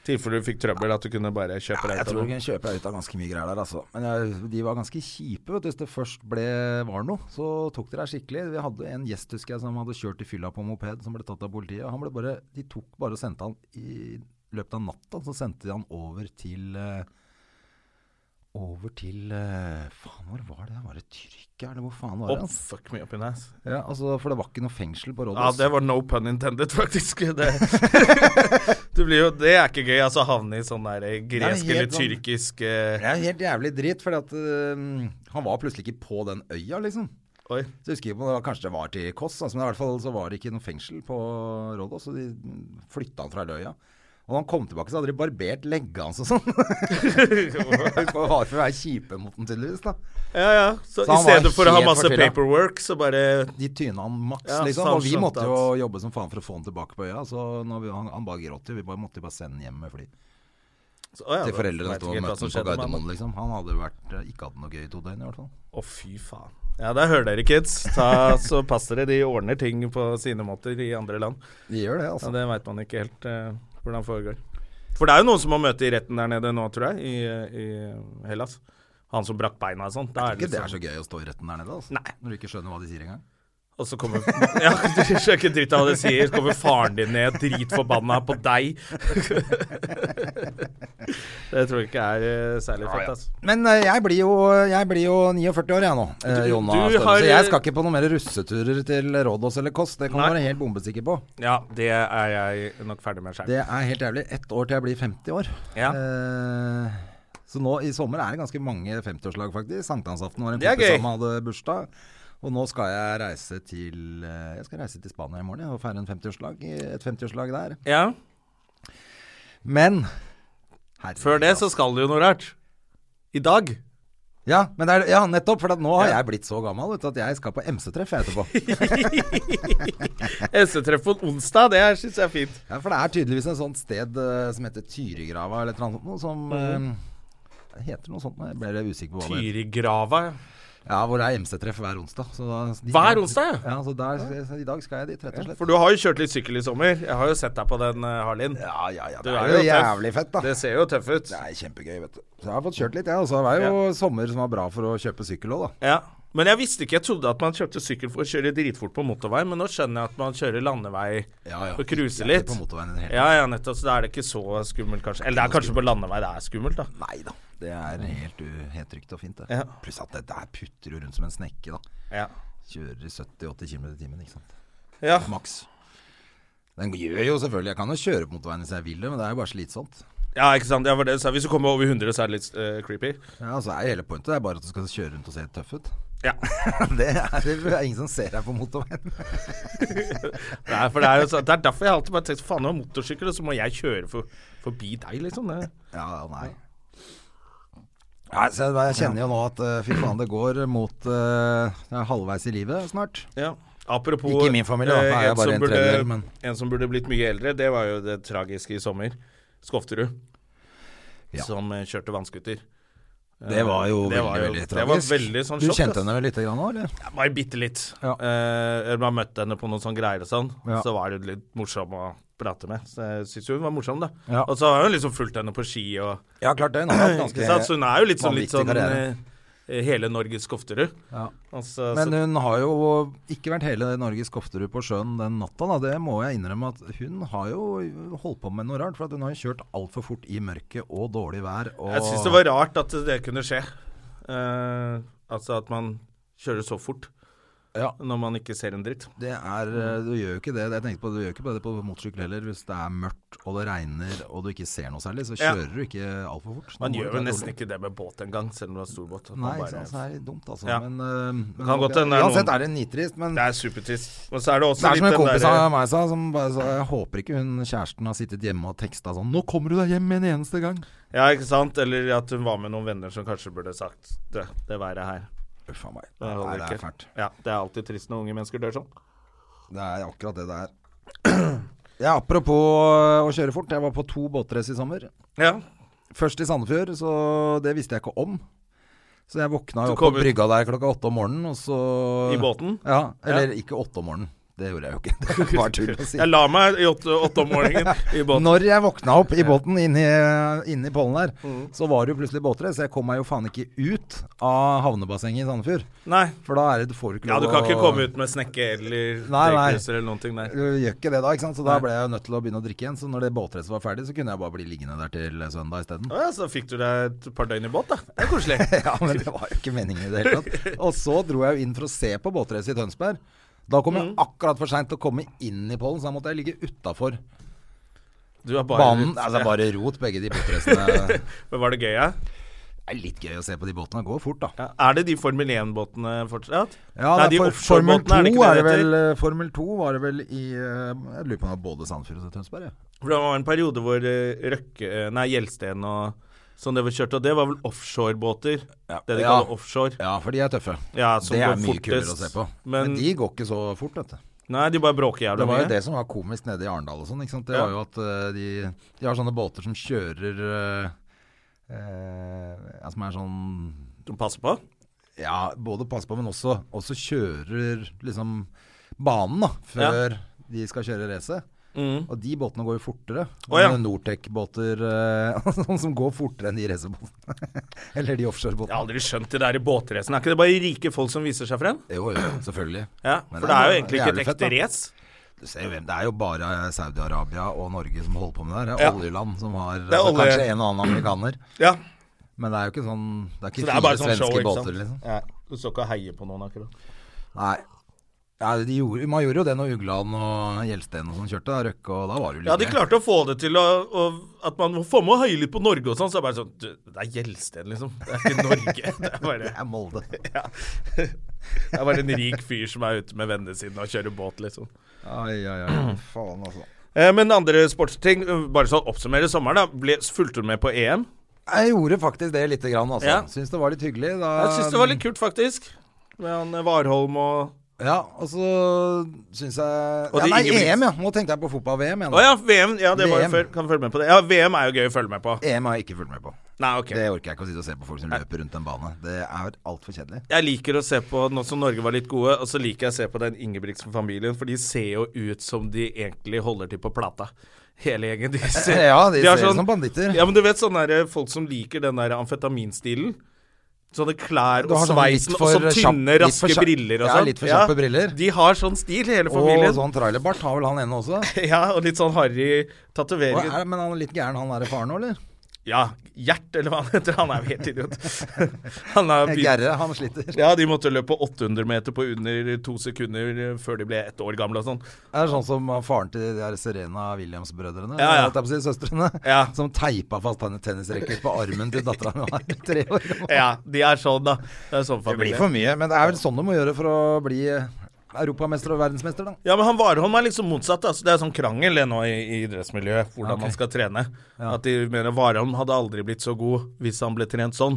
I tilfelle du fikk trøbbel, at du kunne bare kjøpe deg Jeg tror ut av du det. kunne kjøpe deg ut av ganske mye greier der, altså. Men jeg, de var ganske kjipe, vet du. Hvis det først ble, var noe, så tok de deg skikkelig. Vi hadde en gjest, husker jeg, som hadde kjørt i fylla på moped, som ble tatt av politiet. Og han ble bare De tok bare og sendte han i løpet av natta, så sendte de han over til eh, over til eh, Faen, hvor var det? Var det Tyrkia, eller hvor faen var det? Å, ass? fuck me up in ass. Ja, altså, for det var ikke noe fengsel på Ja, Rådhus. det var no pun intended, *laughs* faktisk. Det, *laughs* du blir jo, det *laughs* er ikke gøy, altså, å havne i sånn der eh, gresk Nei, eller helt sånn- tyrkisk eh, det er helt jævlig dritt, for han var plutselig ikke på den øya, liksom. Oi. Så jeg husker ikke om det var, kanskje det var til Koss, altså, men i hvert fall så var det ikke noe fengsel på Rådås, så de flytta han fra Løya. Og da han kom tilbake, så hadde de barbert legga hans og *laughs* sånn. For bare for å være kjipe mot den, tydeligvis. da. Ja, ja. Så, Så han i stedet var for å ha helt masse fortvila. paperwork, så bare De tyna han maks, Ja, så liksom. han Og vi skjønte måtte jo jobbe som faen for å få han tilbake på øya. Så når vi, han, han bare gråt jo. Vi bare, måtte jo bare sende han hjem med fly. så, å, ja, Til da foreldrene vet som jeg ikke helt hva møtte ham på som skjedde med han. Gardermoen, liksom. Han hadde jo vært, ikke hatt det noe gøy i to døgn, i hvert fall. Å, fy faen. Ja, der hører dere, kids. Ta, så pass dere. De ordner ting på sine måter i andre land. De gjør det, Ja, altså. det veit man ikke helt eh, hvordan foregår. For det er jo noen som må møte i retten der nede nå, tror jeg, i, eh, i Hellas. Han som brakk beina og sånn. Da er Ikke det det er så liksom- gøy å stå i retten der nede, altså. Nei. Når du ikke skjønner hva de sier engang. Og så kommer *laughs* Ja, du skjønner ikke dritt av hva det sier. Så kommer faren din ned dritforbanna på deg. *laughs* det tror jeg ikke er eh, særlig fett, altså. Men eh, jeg blir jo, jeg blir jo 49 år jeg nå, eh, Du- Jonna. du Støre, har- Så jeg skal ikke på noen mer russeturer til Rådås eller Koss. Det kan du Nei. være helt bombesikker på. Ja, det er jeg nok ferdig med sjøl. Det er helt jævlig. Ett år til jeg blir 50 år. Ja. Eh, så nå i sommer er det ganske mange 50-årslag, faktisk. Sankthansaften var en Det er kompis gøy. som hadde bursdag. Og nå skal jeg reise til eh, Jeg skal reise til Spania i morgen jeg, og feire en 50-årslag, et 50-årslag der. Ja. Men herregud, Før det så altså. skal det jo noe rart. I dag. ja, men det er, ja, nettopp. For at nå har Ja. jeg blitt så gammel vet du, at jeg skal på MC-treff jeg, etterpå. SE-treff på onsdag, det syns jeg er fint. Ja, for det er tydeligvis en sånt sted eh, som heter Tyrigrava eller et eller annet sånt noe som Mhm. eh, det heter noe sånt, nå, jeg ble litt usikker på hva det heter. Tyrigrava. ja. Ja, hvor det er MC-treff hver onsdag. Så da, de, Hver onsdag, ja. Ja, så der, så I dag skal jeg dit, rett og slett. For du har jo kjørt litt sykkel i sommer. Jeg har jo sett deg på den, eh, Harlin. Ja, ja, ja. Du Det er er jo jo tøff. jævlig fett, da. Det ser jo tøff ut. Det er kjempegøy, vet du. Så jeg har fått kjørt litt, jeg. Ja, også. det er jo sommer som var bra for å kjøpe sykkel òg, da. Ja. Men jeg visste ikke, jeg trodde at man kjøpte sykkel for å kjøre dritfort på motorvei, men nå skjønner jeg at man kjører landevei Ja, ja. og cruiser Ikke litt. på motorveien i det hele Ja, ja, nettopp. Så da er det ikke så skummelt, kanskje. Eller det er kanskje på landevei det er skummelt, da. Nei da. Det er helt, u- helt trygt og fint, det. Ja. Pluss at det der putter jo rundt som en snekke, da. Ja. Kjører i 70-80 km i timen, ikke sant. ja. Maks. Den gjør jo selvfølgelig Jeg kan jo kjøre på motorveien hvis jeg vil det, men det er jo bare slitsomt. Ja, ikke sant. Ja, for det, så hvis du kommer over 100, så er det litt eh, creepy. Ja, altså er Hele pointet er bare at du skal kjøre rundt og se tøff ut. *laughs* Ja. Det er, det er ingen som ser deg på motorveien. Nei, for det er jo så, det er derfor jeg alltid bare tenker faen, nå har jeg motorsykkel, og så må jeg kjøre for, forbi deg, liksom. Det. Ja, ja, nei. Nei, så jeg, jeg kjenner jo nå at eh, fy faen, det går mot eh, jeg er halvveis i livet snart. Ja. Apropos Ikke i min familie, da. eh, Nei, jeg er en bare som en burde- tredjedel, men- En som burde blitt mye eldre, det var jo det tragiske i sommer. Skofterud. Ja. Som eh, kjørte vannskuter. Eh, Det var jo Det veldig, var jo- veldig det var tragisk. veldig sånn du sjokk, kjente ass. henne vel lite grann nå, eller? Ja, Bare bitte litt. Ja. Eh, man møtte henne på noen sånne greier og sånn. Ja. Så var hun litt morsom å prate med. Så jeg syns jo hun var morsom, da. Ja. Og så har hun liksom fulgt henne på ski og Ja, klart det. Hun har hatt *clears throat* ikke sant? Så hun er jo litt sånn, litt vanvittig sånn karriere. eh, eh, hele Norges Skofterud. Ja. Altså, Men så, hun har jo ikke vært hele Norges Kofterud på sjøen den natta, da. Det må jeg innrømme at hun har jo holdt på med noe rart. For at hun har jo kjørt altfor fort i mørket og dårlig vær. Og jeg syns det var rart at det kunne skje. Eh, altså at man kjører så fort Ja. når man ikke ser en dritt. Det er, eh, du gjør jo ikke det. Jeg tenkte på, Du gjør ikke på det på motorsykkel heller. Hvis det er mørkt og det regner og du ikke ser noe særlig, så Ja. kjører du ikke altfor fort. Man Da må du ta gjør jo det nesten rolig. ikke det med båt engang, selv om du har stor båt. At Nei, ikke man bare- sant. Så det er dumt, altså. Ja. Men, eh, men kan godt hende det er uansett noen- er det nitrist. Men Det er supertrist. Og så er det også Det er som en litt den eh, kompis derre- av meg sa, som bare sa Jeg håper ikke hun kjæresten har sittet hjemme og teksta sånn 'Nå kommer du deg hjem en eneste gang'. Ja, ikke sant? Eller at hun var med noen venner som kanskje burde sagt det, det været her. Uff a meg. Det Nei, holder det er ikke. fælt. Ja, det er alltid trist når unge mennesker dør sånn. Det er akkurat det det er. *clears throat* Ja, apropos eh, å kjøre fort. Jeg var på to båtrace i sommer. Ja. Først i Sandefjord, så det visste jeg ikke om. Så jeg våkna Du jo opp kom på ut- brygga der klokka åtte om morgenen, og så I båten? Ja, eller ikke åtte om morgenen. Det gjorde jeg jo ikke. *laughs* Det var tull *laughs* å si. Jeg la meg i åtte, åtte om *laughs* morgenen i båten. Når jeg våkna opp i båten inni, inni pollen der, Mm. så var det jo plutselig båtrace. Jeg kom meg jo faen ikke ut av havnebassenget i Sandefjord. Nei. For da er det, du får du ikke Ja, lov du kan ikke komme å ut med snekke eller Nei, nei. drikkehuser eller noen ting der. Du gjør ikke det da, ikke sant? Så da Nei. ble jeg jo nødt til å begynne å drikke igjen. Så når det båtracet var ferdig, så kunne jeg bare bli liggende der til søndag isteden. *laughs* Å ja, så fikk du deg et par døgn i båt, da. Det er koselig. *laughs* Ja, men det var jo ikke meningen i det hele *laughs* tatt. Og så dro jeg jo inn for å se på båtrace i Tønsberg. Da kom Mm. jeg akkurat for seint til å komme inn i pollen, så da måtte jeg ligge utafor Du er bare banen. litt- Altså bare rot, begge de *laughs* båtracene. Men var det gøy, ja? Det er litt gøy å se på de båtene. Går fort, da. ja? Er det de Formel 1-båtene fortsatt? Ja, Nei, det de er for, Formel offshore-båtene, 2 er er det, det ikke det det vel eh, Formel 2 var det vel i eh, Jeg lurer på om det var både Sandfjord og Tønsberg, ja. For det var en periode hvor eh, Røkke, eh, nei, Gjelsten og sånn det var kjørt, og det var vel offshorebåter? Ja. Det de Ja. kaller offshore. Ja, for de er tøffe. Ja, som det går er mye kulere å fortest. se på. Men, Men, de går ikke så fort, vet du. Nei, de bare bråker Det jævlig var jo mye. det som var komisk nede i Arendal og sånn. ikke sant? Det Ja. var jo at eh, de, de har sånne båter som kjører eh, eh, ja, Som er sånn De passer på. Ja, både passe på, men også, også kjører liksom banen, da. Før de skal kjøre racet. Mm. Og de båtene går jo fortere. Å, ja. Sånne Nortec-båter eh, *laughs* sånne som går fortere enn de racerbåtene. *laughs* Eller de Jeg har offshorebåtene. aldri skjønt det der i båtracen. Er ikke det bare rike folk som viser seg frem? Jo, jo, selvfølgelig. Ja, Men For det er det er jo jo egentlig ikke jævlig et fett, ekte da. race. Du ser jo hvem. Det er jo bare Saudi-Arabia og Norge som holder på med det her. Det Ja. er oljeland som har er altså, olje- kanskje en og annen amerikaner. Ja. Men det er jo ikke sånn Det er ikke Så det er fire bare sånn svenske show, ikke sant. båter, liksom. Ja. Du står ikke og heier på noen, akkurat. Nei. Ja, de gjorde, man gjorde jo det når Ugland og Gjelsten og sånn kjørte. Da, Røkke og da var det jo Ja, litt de gøy. klarte å få det til å, å, at man må få med å heie litt på Norge og sånn. Så er det bare sånn du, Det er Gjelsten, liksom. Det er ikke Norge. *laughs* Det er bare, Det er *laughs* Molde. ja. det er bare en rik fyr som er ute med vennene sine og kjører båt, liksom. Ai, ai, ai. Faen, altså. Eh, men andre sportsting, eh, bare sånn oppsummere sommeren, da. Ble, fulgte du med på EM? Jeg gjorde faktisk det lite grann, altså. Ja. Syns det var litt hyggelig. Da, Jeg syns det var litt kult, faktisk. Med han eh, Warholm og Ja, og så syns jeg ja, Og det Nei, Ingebrigtsen- EM, ja. Nå tenkte jeg på fotball-VM. Å ja, VM. Ja, det var jo VM. før. Kan følge med på det. Ja, VM er jo gøy å følge med på. EM har jeg ikke fulgt med på. Nei, ok. Det orker jeg ikke å sitte og se på folk som løper rundt en bane. Det er altfor kjedelig. Jeg liker å se på, nå som Norge var litt gode, og så liker jeg å se på den Ingebrigtsen-familien, for de ser jo ut som de egentlig holder til på plata. Hele *laughs* gjengen. De ser, Ja, de har ser sånn- ut som banditter. Ja, men du vet sånne der, folk som liker den der amfetaminstilen? Sånne klær Du og har sånn litt sveisen, og for så tynne, kjapp- litt for raske kjapp- briller og ja, sånn. litt for kjappe briller. De har sånn stil, hele Og familien. sånn trailerbart har vel han ene også. *laughs* Og Ja, og litt sånn harry er, tatoveringer. men han er litt gæren, han derre faren nå, eller? Ja, Gjert, eller hva han heter. Han er jo helt idiot. *laughs* Han har begynt- Eh, Gerre, han sliter. *laughs* Ja, de måtte løpe 800 meter på under to sekunder eh, før de ble ett år gamle og sånn. *laughs* Det er sånn som faren til de der Serena Williams-brødrene, Ja, ja. holdt jeg på å si, søstrene, Ja. *laughs* som teipa fast han i tennisracket på armen til dattera mi var tre år. *laughs* Ja, de er sånn, da. Det er sånn Det blir familie. for mye, men det er vel sånn du må gjøre for å bli eh, europamester og verdensmester, da. Ja, men han Warholm er liksom motsatt. Altså, det er sånn krangel det nå i, i idrettsmiljøet, hvordan man skal trene. At de mener Warholm hadde aldri blitt så god hvis han ble trent sånn.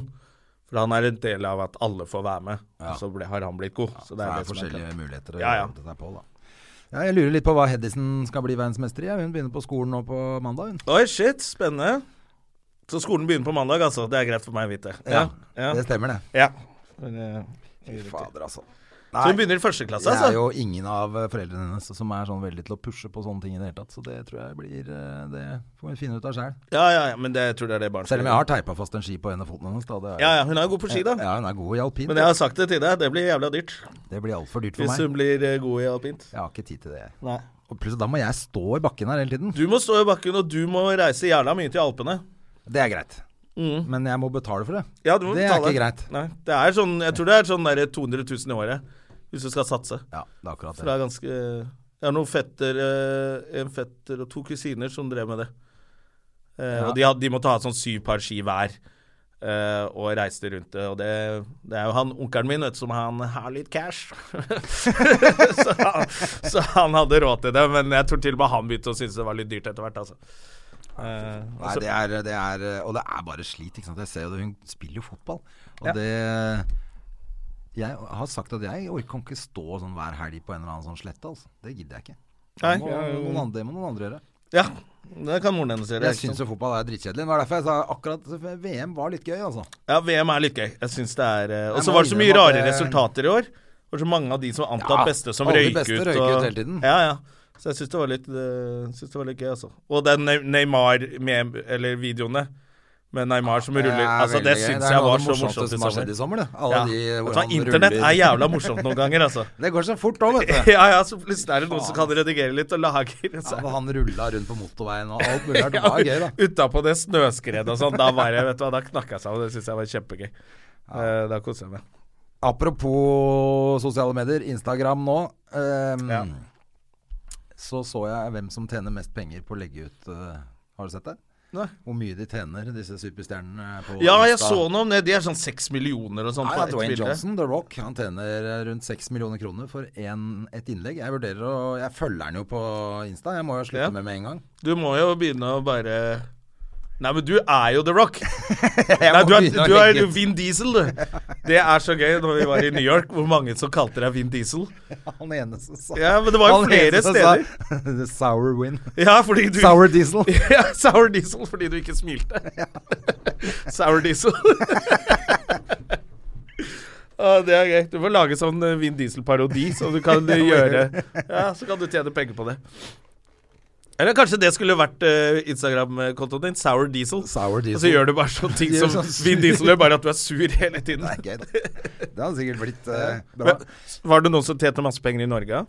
For han er en del av at alle får være med, og så ble, har han blitt god. Så Det er, det er, det som er forskjellige muligheter å Ja, ja. gjøre seg på, da. Ja, jeg lurer litt på hva Hedison skal bli verdensmester i. ja. Hun begynner på skolen nå på mandag, hun. klart. Oi, shit, spennende. Så skolen begynner på mandag, altså. Det er greit for meg å vite. Ja. ja. Det stemmer, det. ja. Fy fader, altså. Så hun begynner i første klasse, Det er altså? jo ingen av eh, foreldrene hennes som er sånn veldig til å pushe på sånne ting i det hele tatt. Så det tror jeg blir eh, Det får vi finne ut av sjæl. Ja, ja, ja, men det, jeg tror det er det barnet Selv om jeg har teipa fast en ski på en av fotene hennes. Da. Det er, Ja, ja, hun er jo god på ski, da. Ja, hun er god i alpint. Men jeg har sagt det til deg, det blir jævla dyrt. Det blir altfor dyrt for Hvis meg. hun blir eh, god i alpint. Jeg har ikke tid til det. jeg. Nei. Og plutselig da må jeg stå i bakken her hele tiden. Du må stå i bakken, og du må reise jævla mye til Alpene. Det er greit. Men jeg må betale for det. Mm. Ja, du må det er betale. ikke greit. Nei, det er sånn, jeg tror det er sånn der 200 000 i året, hvis du skal satse. Ja, det er akkurat For det. det er ganske Jeg har noen fetter, eh, en fetter og to kusiner som drev med det. Eh, Og de, hadde, de måtte ha sånn syv par ski hver. eh, og reiste rundt det, og det, det er jo han onkelen min, vet du, som han har litt cash. *laughs* så, han, så han hadde råd til det, men jeg tror til og med han begynte å synes det var litt dyrt etter hvert, altså. Eh, Nei, det er, det er, og det er bare slit. Ikke sant? Jeg ser jo det, hun spiller jo fotball. Og Ja. det Jeg har sagt at jeg orker kan ikke stå sånn hver helg på en eller annen sånn slette. Altså. Det gidder jeg ikke. Nei. Det må, noen andre, det må noen andre gjøre. ja, det sånn- kan moren hennes gjøre. Jeg syns jo fotball er dritkjedelig. Det var derfor jeg sa akkurat VM var litt gøy, altså. Ja, VM er litt gøy. Jeg synes det er eh, Og Jeg så må var det så mye innrømme at rare det- resultater i år. Det var så mange av de som var antatt Ja, beste, som alle de røyk beste ut. røyk ut og- hele tiden. Ja, ja. Så jeg syns det, var litt, eh, synes det var litt gøy, altså. Og den Ne- Neymar med, eller videoene med Neymar som ruller er Altså, det veldig gøy. er syns jeg noe var av det så morsomste morsomt i som har skjedd sommer. i sommer. Det. Alle Ja. de, Vet hvor du hva, han internett ruller- er jævla morsomt noen ganger, altså. *laughs* Det går så fort òg, vet du. *laughs* Ja, ja, så plutselig er det noen som kan redigere litt og lager Ja, hvor så- Altså, han rulla rundt på motorveien og alt *laughs* mulig rart. Det var gøy, da. Utapå det snøskredet og sånn. Da var jeg, vet du hva, da knakk jeg sammen. Det syns jeg var kjempegøy. Eh, Da koste jeg meg. Apropos sosiale medier, Instagram nå. ehm, Ja. Så så jeg hvem som tjener mest penger på å legge ut eh, Har du sett det? Nei. Hvor mye de tjener, disse superstjernene på Ja, jeg Insta. så noe om det. De er sånn seks millioner og sånn. Ja, på ja, ett Dwayne bilde. Johnson, The Rock, han tjener eh, rundt 6 millioner kroner for en, et innlegg. Jeg vurderer å Jeg følger han jo på Insta, jeg må jo slutte Ja. med med en gang. Du må jo begynne å bare Nei, men du er jo The Rock. *laughs* Jeg Nei, må du er, begynne å du er legge ut. Vin Diesel, du. Det er så gøy når vi var i New York, hvor mange som kalte deg Vin Diesel. Han ene som sa Ja, men det var jo han flere ene som steder. sa, The *laughs* Sour win. Ja, fordi *laughs* du Sour diesel. *laughs* ja, Sour Diesel fordi du *laughs* ikke smilte. *laughs* Sour Diesel. *laughs* Å, Ah, det er gøy. Du får lage sånn eh, Vin Diesel-parodi, så du *laughs* kan eh, gjøre Ja, så kan du tjene penger på det. Eller kanskje det skulle vært eh, Instagram-kontoen din. Sour Diesel. Sour Og diesel. så gjør du bare sånne ting *laughs* Gjør som sånn sur- Vin Diesel gjør, bare at du er sur *laughs* hele tiden. Det er gøy, da. Det hadde sikkert blitt eh, bra. Men, var det noen som tjente masse penger i Norge?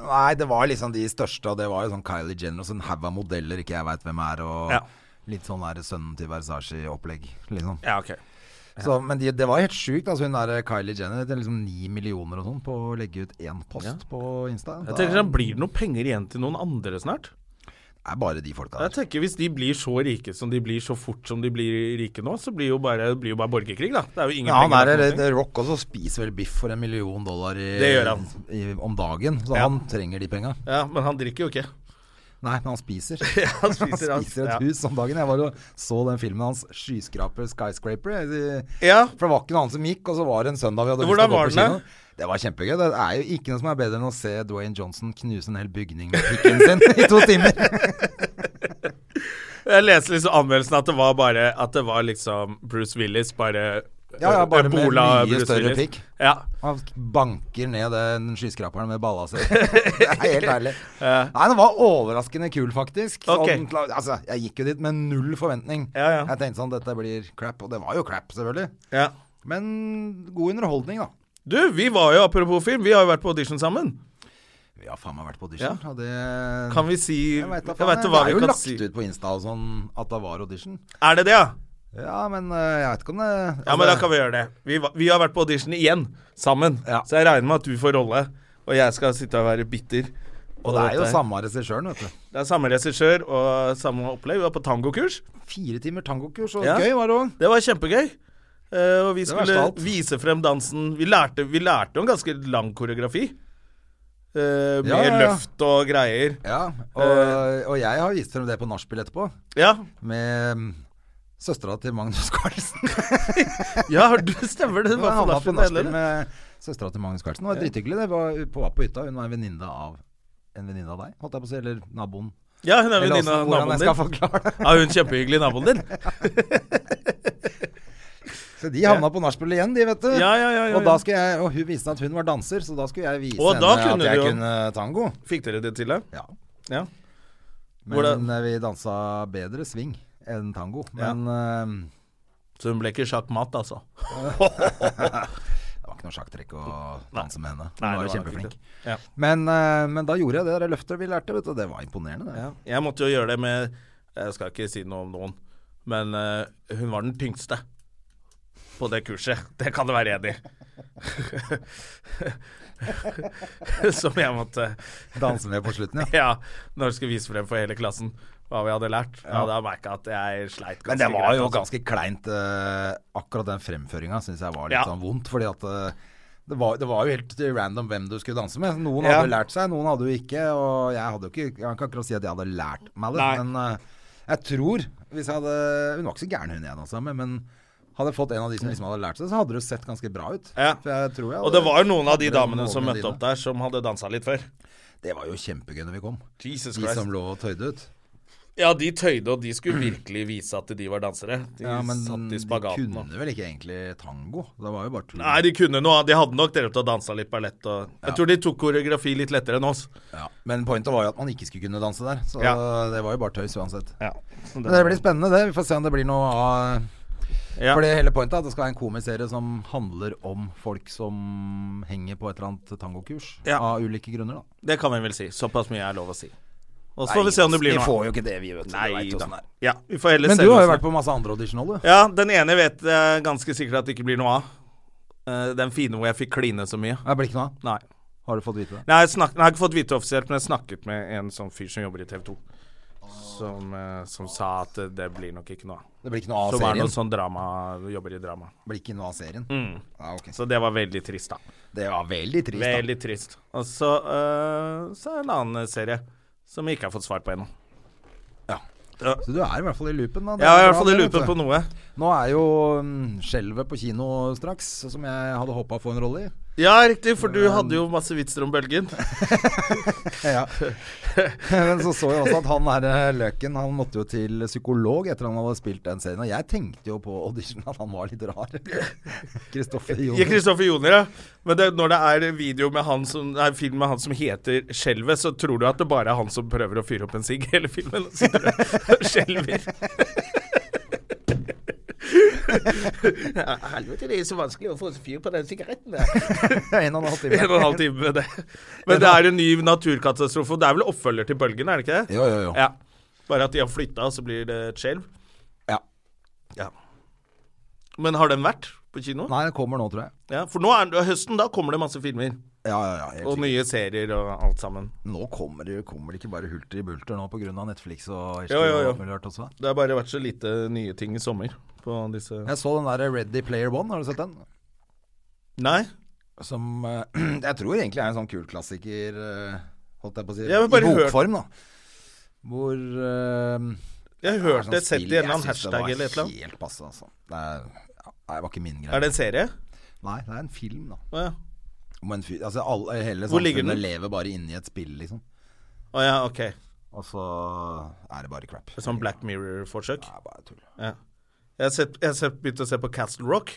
Nei, det var liksom de største, og det var jo sånn Kylie Jenner og sånn haug av modeller ikke jeg veit hvem er, og Ja. litt sånn der sønnen til Versace-opplegg, liksom. Ja, ok. Så, men de, det var helt sjukt. Altså, hun der Kylie Jenner det er liksom ni millioner og sånn på å legge ut én post på Insta. Jeg Da tenker sånn, Blir det noen penger igjen til noen andre snart? er bare de folka Jeg der. tenker Hvis de blir så rike som de blir så fort som de blir rike nå, så blir jo bare, blir jo bare borgerkrig, da. Det er jo ingen Ja, han penger. er, der for det, noen ting. det Rock også spiser vel biff for en million dollar i, Det gjør han. i, om dagen, så Ja. han trenger de penga. Ja, Men han *laughs* drikker jo ikke. Nei, men han *laughs* spiser. han spiser, han han. spiser et Ja. hus om dagen. Jeg var og så den filmen hans 'Skyskraper Skyscraper'. Jeg- Ja. For det var ikke noe annet som gikk, og så var det en søndag vi hadde lyst Hvordan til å gå var på den da? kino. Det var kjempegøy. Det er jo ikke noe som er bedre enn å se Dwayne Johnson knuse en hel bygning med pikken sin *laughs* i to timer. Jeg leste liksom anmeldelsen at det var bare At det var liksom Bruce Willis, bare Ja, ja, bare med Ebola mye Bruce større Willis. pikk. Ja. Han banker ned den skyskraperen med balla *laughs* si. Det er helt ærlig. Nei, den var overraskende kul, faktisk. Ok. Sånn, altså, jeg gikk jo dit med null forventning. Ja, ja. Jeg tenkte sånn, dette blir crap. Og det var jo crap, selvfølgelig. ja. Men god underholdning, da. Du, vi var jo, apropos film, vi har jo vært på audition sammen. Vi har faen meg vært på audition. Og det Kan vi si Jeg vet da jeg vet faen, hva Det er vi jo kan lagt si. ut på Insta og sånn at det var audition. Er det det, ja? Ja, men øh, jeg vet ikke om det altså, Ja, men da kan vi gjøre det. Vi, va- vi har vært på audition igjen, sammen. Ja. Så jeg regner med at du får rolle, og jeg skal sitte og være bitter. Og det er jo dette her. samme regissøren, vet du. Det er samme regissør og samme opplegg. Vi var på tangokurs. Fire timer tangokurs, og Ja. gøy var det òg. Det var kjempegøy. Eh, og vi Det var skulle stas. vise frem dansen. Vi lærte, vi lærte jo en ganske lang koreografi. Eh, med Ja, ja, ja. løft og greier. Ja, og, Eh. og jeg har vist frem det på nachspiel etterpå, Ja, med mm, søstera til Magnus *laughs* Carlsen. *laughs* ja du stemmer det. Jeg det var havna på på nachspiel, nachspiel eller? med søstera til Magnus Carlsen. Det var drithyggelig. Det var på, var på hytta. Hun var en venninne av en venninne av deg, holdt jeg på å si. Eller naboen. Ja, hun er Eller venninne åssen- av hvordan naboen jeg skal din. forklare det. Ja, hun er kjempehyggelig, naboen din. Så de havna på nachspiel igjen, de, vet du. Ja, ja, ja, ja, Og da ja. skulle jeg Og hun viste at hun var danser, så da skulle jeg vise Og henne da kunne at jeg du jo- kunne tango. Fikk dere det til, da? Ja. Ja. Hvordan- Men eh, vi dansa bedre swing enn tango. Men eh, Så hun ble ikke sjakkmatt, altså? det var ikke noe sjakktrekk å danse med henne. Hun var Nei, jo det var kjempeflink. ikke det. Ja. Men, eh, men da gjorde jeg det der løftet vi lærte, vet du. Det var imponerende. Det. Jeg måtte jo gjøre det med Jeg skal ikke si noe om noen, men eh, hun var den tyngste på det kurset. Det kan du være enig i. *laughs* Som jeg måtte Danse med på slutten, ja. Ja, når jeg skulle vise frem for hele klassen hva vi hadde lært. Ja, da merka jeg at jeg sleit *laughs* ganske Men det var greit, jo altså. ganske kleint. eh, akkurat den fremføringa syns jeg var litt Ja. sånn vondt, fordi at eh, det var, det var jo helt random hvem du skulle danse med. Noen Ja. hadde jo lært seg, noen hadde jo ikke. Og jeg hadde jo ikke Jeg kan ikke akkurat si at jeg hadde lært meg det, Nei. men eh, jeg tror hvis jeg hadde Hun var ikke så gæren, hun jeg dansa med, men hadde jeg fått en av de som liksom hadde lært seg, så hadde det jo sett ganske bra ut. Mm. Ja. For jeg tror jeg Og det hadde- var jo noen av de hadde damene som noenlunde møtte opp der, som hadde dansa litt før. Det var jo kjempegøy når vi kom. Jesus De Christ. som lå og tøyde ut. Ja, de tøyde, og de skulle virkelig vise at de var dansere. De Ja, men satt i de spagaten. og- kunne vel ikke egentlig tango? Det var jo bare tull. Nei, de kunne noe. annet. De hadde nok drevet og dansa litt ballett og Jeg tror de tok koreografi litt lettere enn oss. Ja, men pointet var jo at man ikke skulle kunne danse der. Så Ja. det var jo bare tøys uansett. Ja. Men det blir spennende, det. Vi får se om det blir noe av Ja. For det hele pointet er at det skal være en komiserie som handler om folk som henger på et eller annet tangokurs. Ja. Av ulike grunner, da. Det kan vi vel si. Såpass mye er lov å si. Og så får vi se om det blir vi noe. får jo ikke det, vi, vet du. Nei vet jo da. hvordan det er. Ja, vi får heller Men se du hva har jo som- vært på masse andre auditioner, du. Ja, den ene vet jeg ganske sikkert at det ikke blir noe av. Eh, Den fine hvor jeg fikk kline så mye. Det blir ikke noe av. Nei. Har du fått vite det? Nei, jeg, snak, jeg har ikke fått vite offisielt, men jeg snakket med en sånn fyr som jobber i TV 2. Som, eh, som sa at eh, det blir nok ikke noe av. Det blir ikke noe av Som er noe serien. sånn Mm. drama, jobber i drama. Blir ikke noe av serien. Ja, ok. Så det var veldig trist, da. Det var veldig trist, da. Veldig trist. Og så, øh, så en annen serie som jeg ikke har fått svar på ennå. Så du er i hvert fall i loopen, da. Det Jeg har i er hvert bra, fall det, vet lupet du. på noe. Nå er jo mm, Skjelvet på kino straks, som jeg hadde håpa å få en rolle i. Ja, riktig, for du hadde jo masse vitser om *laughs* bølgen. *laughs* Ja. Men så så jeg også at han her eh, Løken Han måtte jo til psykolog etter han hadde spilt den serien. Og jeg tenkte jo på audition at han var litt *laughs* rar. Kristoffer I Joner. Kristoffer Joner, ja. Men det, når det er video med han som, nei, film med han som heter Skjelvet, så tror du at det bare er han som prøver å fyre opp en sigg *laughs* hele filmen. Og sitter og *laughs* skjelver. ja, helvete, det er så vanskelig å få fyr på den sigaretten der. *laughs* En og en halv En og en time. halv time med det. Men det er en ny naturkatastrofe. og Det er vel oppfølger til bølgen, er det ikke det? Jo, jo, jo. Ja. Bare at de har flytta, så blir det et skjelv. Ja. Men har den vært på kino? Nei, det kommer nå, tror jeg. Ja, For nå er høsten, da kommer det masse filmer. Ja, ja, ja. helt Og sikkert. nye serier og alt sammen. Nå kommer det, kommer det ikke bare hulter i bulter nå pga. Netflix og HBO Jo, jo, jo. og alt mulig rart også. Det har bare vært så lite nye ting i sommer på disse Jeg så den der Ready Player One, har du sett den? Nei? Som eh, *clears throat* jeg tror egentlig er en sånn kul klassiker, eh, holdt jeg på å si, Jeg har i bare hørt- bokform, da. Hvor eh, Jeg det er hørte sånn et sett i spill- en eller annen jeg synes det hashtag var eller et eller annet. Helt passe, altså. Det er, ja, nei, det var ikke min greie. Er det en serie? Nei, det er en film, da. Å ja. Om en fyr Altså, alle, hele Hvor ligger den? samfunnet lever bare inni et spill, liksom. Å ja, ok. Og så er det bare crap. Sånn Black Mirror-forsøk? Det er bare tull. Ja. Jeg har, sett, jeg har sett, begynt å se på Castle Rock.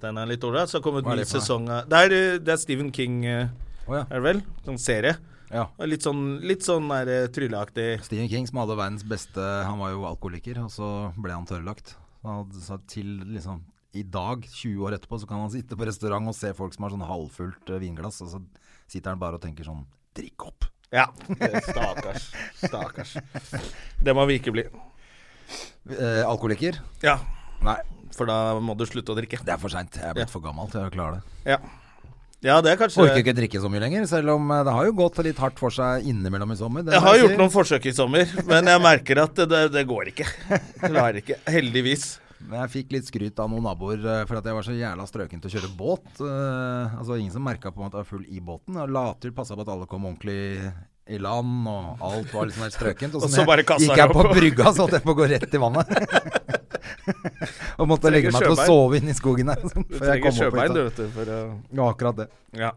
Den er litt ålreit. Så har kommet Mhm. Hva er ny det for noe? sesong av det, er, eh, det er Stephen King, eh, Å ja. er det vel? Sånn serie. ja. Og Litt sånn, litt sånn der, eh, trylleaktig. Stephen King, som hadde verdens beste Han var jo alkoholiker, og så ble han tørrlagt. Han hadde sagt til liksom I dag, 20 år etterpå, så kan han sitte på restaurant og se folk som har sånn halvfullt eh, vinglass, og så sitter han bare og tenker sånn Drikk opp. Ja. Eh, Stakkars. Stakkars. Det må vi ikke bli. Eh, alkoholiker? Ja. Nei, For da må du slutte å drikke. det er for seint. Jeg er blitt for gammel til å klare det. Ja. Ja, det er Orker kanskje ikke drikke så mye lenger, selv om eh, det har jo gått litt hardt for seg innimellom i sommer. det Jeg må har jeg gjort si. noen forsøk i sommer, men jeg merker at det, det, det går ikke. Klarer ikke. Heldigvis. Men jeg fikk litt skryt av noen naboer eh, for at jeg var så jævla strøken til å kjøre båt. Eh, altså ingen som merka på meg at jeg var full i båten. Jeg la til, passa på at alle kom ordentlig i land, og alt var liksom helt strøkent. Og sånn så jeg- bare kassa gikk jeg jeg på opp. brygga, så holdt jeg på å gå rett i *laughs* vannet. og måtte legge meg til å sjøbein. sove inn i skogen her. *laughs* Du Før jeg trenger kom opp sjøbein, hit, du, da. vet du. For, å- Ja, akkurat det. ja.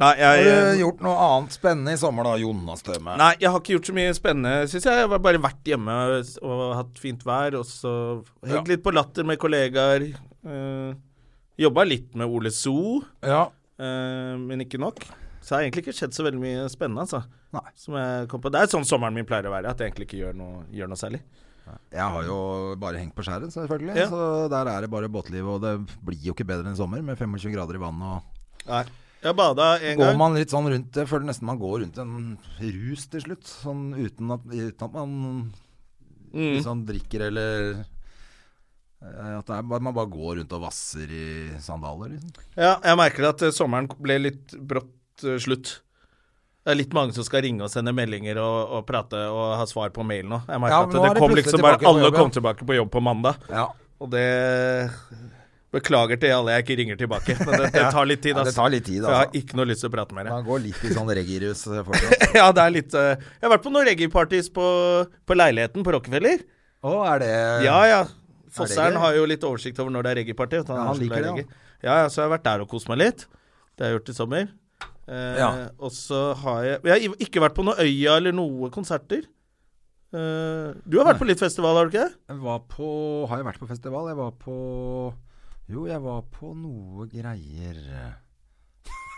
Nei, jeg, eh, Har du gjort noe annet spennende i sommer da, Jonas Støme? Nei, jeg har ikke gjort så mye spennende, syns jeg. Jeg har bare vært hjemme og hatt fint vær, og så hengt litt på latter med kollegaer. Uh, Jobba litt med Ole So, Ja. eh, men ikke nok. Så det har egentlig ikke skjedd så veldig mye spennende, altså. Nei. Som jeg kom på. Det er sånn sommeren min pleier å være, at jeg egentlig ikke gjør noe, gjør noe særlig. Jeg har jo bare hengt på skjæret, selvfølgelig. Ja. Så der er det bare båtliv, og det blir jo ikke bedre enn sommer med 25 grader i vannet og Nei. Jeg bada en Går gang. man litt sånn rundt det, føler nesten man går rundt en rus til slutt. Sånn uten at, uten at man Mm. liksom drikker eller eh, At det er, bare- man bare går rundt og vasser i sandaler, liksom. Ja, jeg merker at eh, sommeren ble litt brått eh, slutt. Det er litt mange som skal ringe og sende meldinger og, og prate og ha svar på mail nå. Jeg merker Ja, at nå er det de kom plutselig liksom bare tilbake på Alle jobb, ja. kom tilbake på jobb på mandag, Ja. og det Beklager til alle jeg ikke ringer tilbake, men det, det tar litt *laughs* tid. Ja, det altså. tar litt tid, For jeg har altså. ikke noe lyst til å prate med deg. Man går litt i sånn reggae-rus *laughs* fortsatt. Ja, det er litt eh, Jeg har vært på noen reggae-parties på, på leiligheten på Rockefeller. Å, Eh, er det Ja, ja. gøy? Fosseren har jo litt oversikt over når det er reggae-party. vet du, Ja, er han så liker glad det, i han. reggae. Ja, ja, så jeg har vært der og kost meg litt. Det har jeg gjort i sommer. Eh, Ja. Og så har jeg Jeg har ikke vært på noe Øya eller noe konserter. Eh, du har vært på litt festival, har du ikke? det? Jeg var på Har jeg vært på festival? Jeg var på Jo, jeg var på noe greier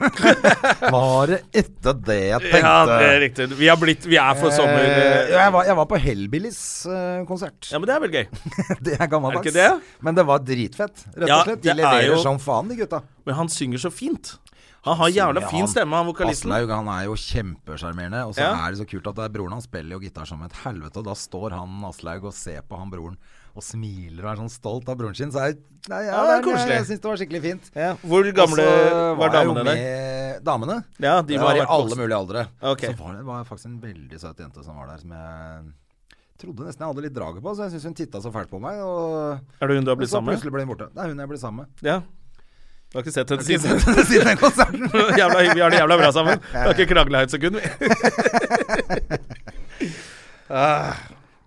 *laughs* Var det etter det jeg tenkte? Ja, det er riktig. Vi, har blitt, vi er for sommer... Eh, eh. jeg, var, jeg var på Hellbillies-konsert. Ja, men det er vel gøy. *laughs* Det er gammeldags. Er det ikke det? Men det var dritfett, rett og Ja, slett. det De er leverer jo- som faen, de gutta. Men han synger så fint. Han har jævla fin stemme, han vokalisten. Aslaug, han er jo kjempesjarmerende. Og så Ja. er det så kult at det er broren hans spiller jo gitar som et helvete, og da står han Aslaug og ser på han broren og smiler og er sånn stolt av broren sin. Så er, nei, ja, Ja, det er det er- koselig. Jeg, jeg syns det var skikkelig fint. Ja. Hvor gamle Og så var jeg jo damene der? med Damene? Ja, de Det må ha var i vært alle voksen. mulige aldre. Ok. Så var det var faktisk en veldig søt jente som var der, som jeg trodde nesten jeg hadde litt draget på. Så jeg syns hun titta så fælt på meg. Og Er det hun du har blitt så sammen med? plutselig ble hun borte. Det er hun jeg ble sammen *laughs* med. Ja. Du har ikke sett henne Siden, siden? siden den *laughs* konserten. jævla, vi har det jævla bra sammen. Vi har ikke krangla et sekund, vi. *laughs*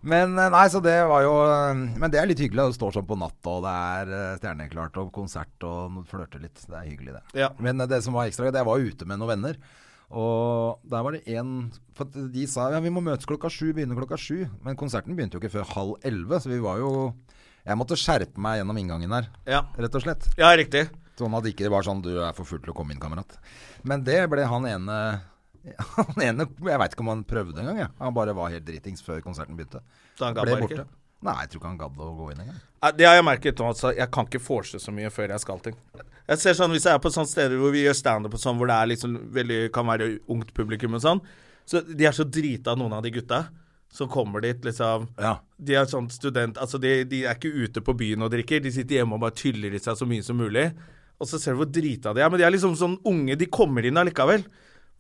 Men eh, nei, så det var jo eh, Men det er litt hyggelig. Det står sånn på natta, og det er eh, stjerneklart og konsert og flørte litt. Det er hyggelig, det. Ja. Men eh, det som var ekstra gøy, det jeg var ute med noen venner. Og der var det én For at de sa ja, vi må møtes klokka sju, begynne klokka sju. Men konserten begynte jo ikke før halv elleve, så vi var jo Jeg måtte skjerpe meg gjennom inngangen der, Ja. rett og slett. Ja, riktig. Sånn at det ikke var sånn du er for full til å komme inn, kamerat. Men det ble han ene *laughs* Han ene Jeg veit ikke om han prøvde engang. jeg. Han bare var helt dritings før konserten begynte. Så han gadd ble bare ikke? borte. Nei, jeg tror ikke han gadd å gå inn engang. Ja, Det har jeg merket nå, altså. Jeg kan ikke forse så mye før jeg skal ting. Jeg ser sånn, Hvis jeg er på sånne steder hvor vi gjør standup og sånn, hvor det er liksom veldig, kan være ungt publikum og sånn, så de er så drita, noen av de gutta som kommer dit, liksom. Ja. De er sånn student... Altså, de, de er ikke ute på byen og drikker. De sitter hjemme og bare tyller i seg så mye som mulig. Og så ser du hvor drita de er. Men de er liksom sånn unge. De kommer inn allikevel.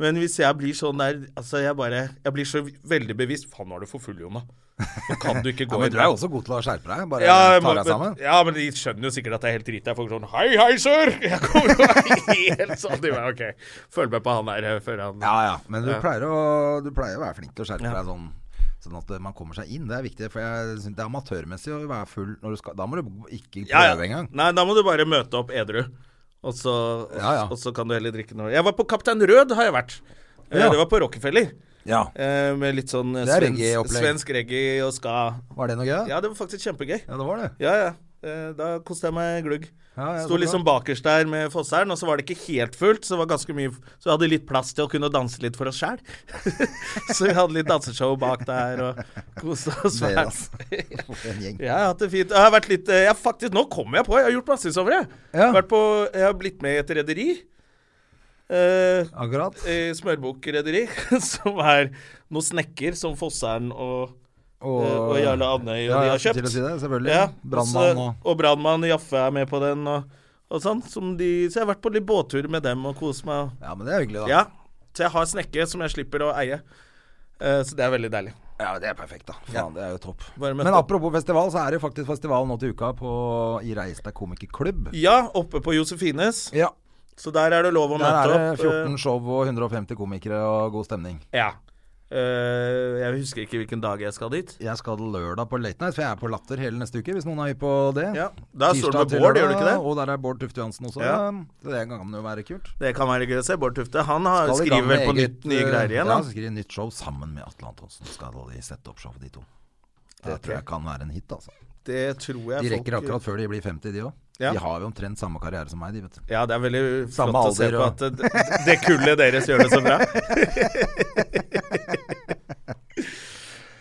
Men hvis jeg blir sånn der Altså, jeg bare Jeg blir så veldig bevisst Faen, nå er du for full, Jonna. Nå kan du ikke *laughs* Ja, gå men inn du er der. jo også god til å skjerpe deg. Bare Ja, ta men, deg sammen. ja, men de skjønner jo sikkert at det er helt drita. Folk er sånn Hei, hei, sir! *laughs* Jeg kommer jo *laughs* helt sånn. De bare, ok, følg med på han der eh, før han Ja ja, men du, Pleier å, du pleier å være flink til å skjerpe deg sånn. Sånn at man kommer seg inn. Det er viktig. For jeg synes det er amatørmessig å være full når du skal Da må du ikke prøve Ja, ja. engang. Nei, da må du bare møte opp edru. Og så, og, Ja, ja. og så kan du heller drikke noe. Jeg var på Kaptein Rød, har jeg vært. Eh, Ja. Det var på Rockefeller. Ja. eh, Med litt sånn eh, Det er svensk, reggae-opplegg. svensk reggae og ska. Var det noe gøy? da? Ja, det var faktisk kjempegøy. ja det var det. Ja, ja. Eh, Da koste jeg meg glugg. Ja, ja, så Sto bra. liksom bakerst der med Fosseren, og så var det ikke helt fullt, så det var ganske mye Så vi hadde litt plass til å kunne danse litt for oss sjæl. *laughs* så vi hadde litt danseshow bak der og koste oss Dere, fælt. altså. For en gjeng. Jeg har hatt det fint. Jeg har vært litt eh, jeg, Faktisk, nå kommer jeg på! Jeg har gjort masse i sommer, jeg. Ja. Vært på, jeg har blitt med i et rederi. Eh, Akkurat. eh, Smørbukrederi, *laughs* som er noen snekker som Fosseren og Eh, og Jarle Andøy, og de har jeg skulle kjøpt. til å Si det, selvfølgelig. ja, Brannmann og og så- Og brannmann Jaffe er med på den, og, og sånn. Som de, så jeg har vært på litt båttur med dem og kost meg. Ja, men det er hyggelig, da. Ja. Så jeg har snekke som jeg slipper å eie. Eh, så det er veldig deilig. Ja, det er perfekt, da. Faen, det er jo topp. Bare møte Men opp. apropos festival, så er det jo faktisk festival nå til uka på i Reistad komikerklubb. Ja, oppe på Josefines. Ja. Så der er det lov å Der møte er opp. det eh, 14 show og 150 komikere og god stemning. Ja. Eh, Eh, jeg husker ikke hvilken dag jeg skal dit. Jeg skal lørdag på Late Night, for jeg er på Latter hele neste uke, hvis noen er hypp på det. Ja, Der står du Tirsdag med til Bård, gjør du lørdag, ikke det? Og der er Bård Tufte Johansen også. Ja. Så Det kan jo være kult. Det kan være gøy å se. Bård Tufte han har, Skal i gang skriver vel med på eget, nytt nye eh, greier igjen. Ja, Da. han skriver nytt show sammen med Atle Antonsen. Skal de sette opp showet, de to. Det Ok. tror jeg kan være en hit, altså. Det tror jeg De folk- eh, rekker akkurat før de blir 50, de òg. Ja. De har jo omtrent samme karriere som meg, de, vet du. Ja, det er veldig Samme flott å se alder på og- at det, det kullet deres gjør det *laughs* så bra.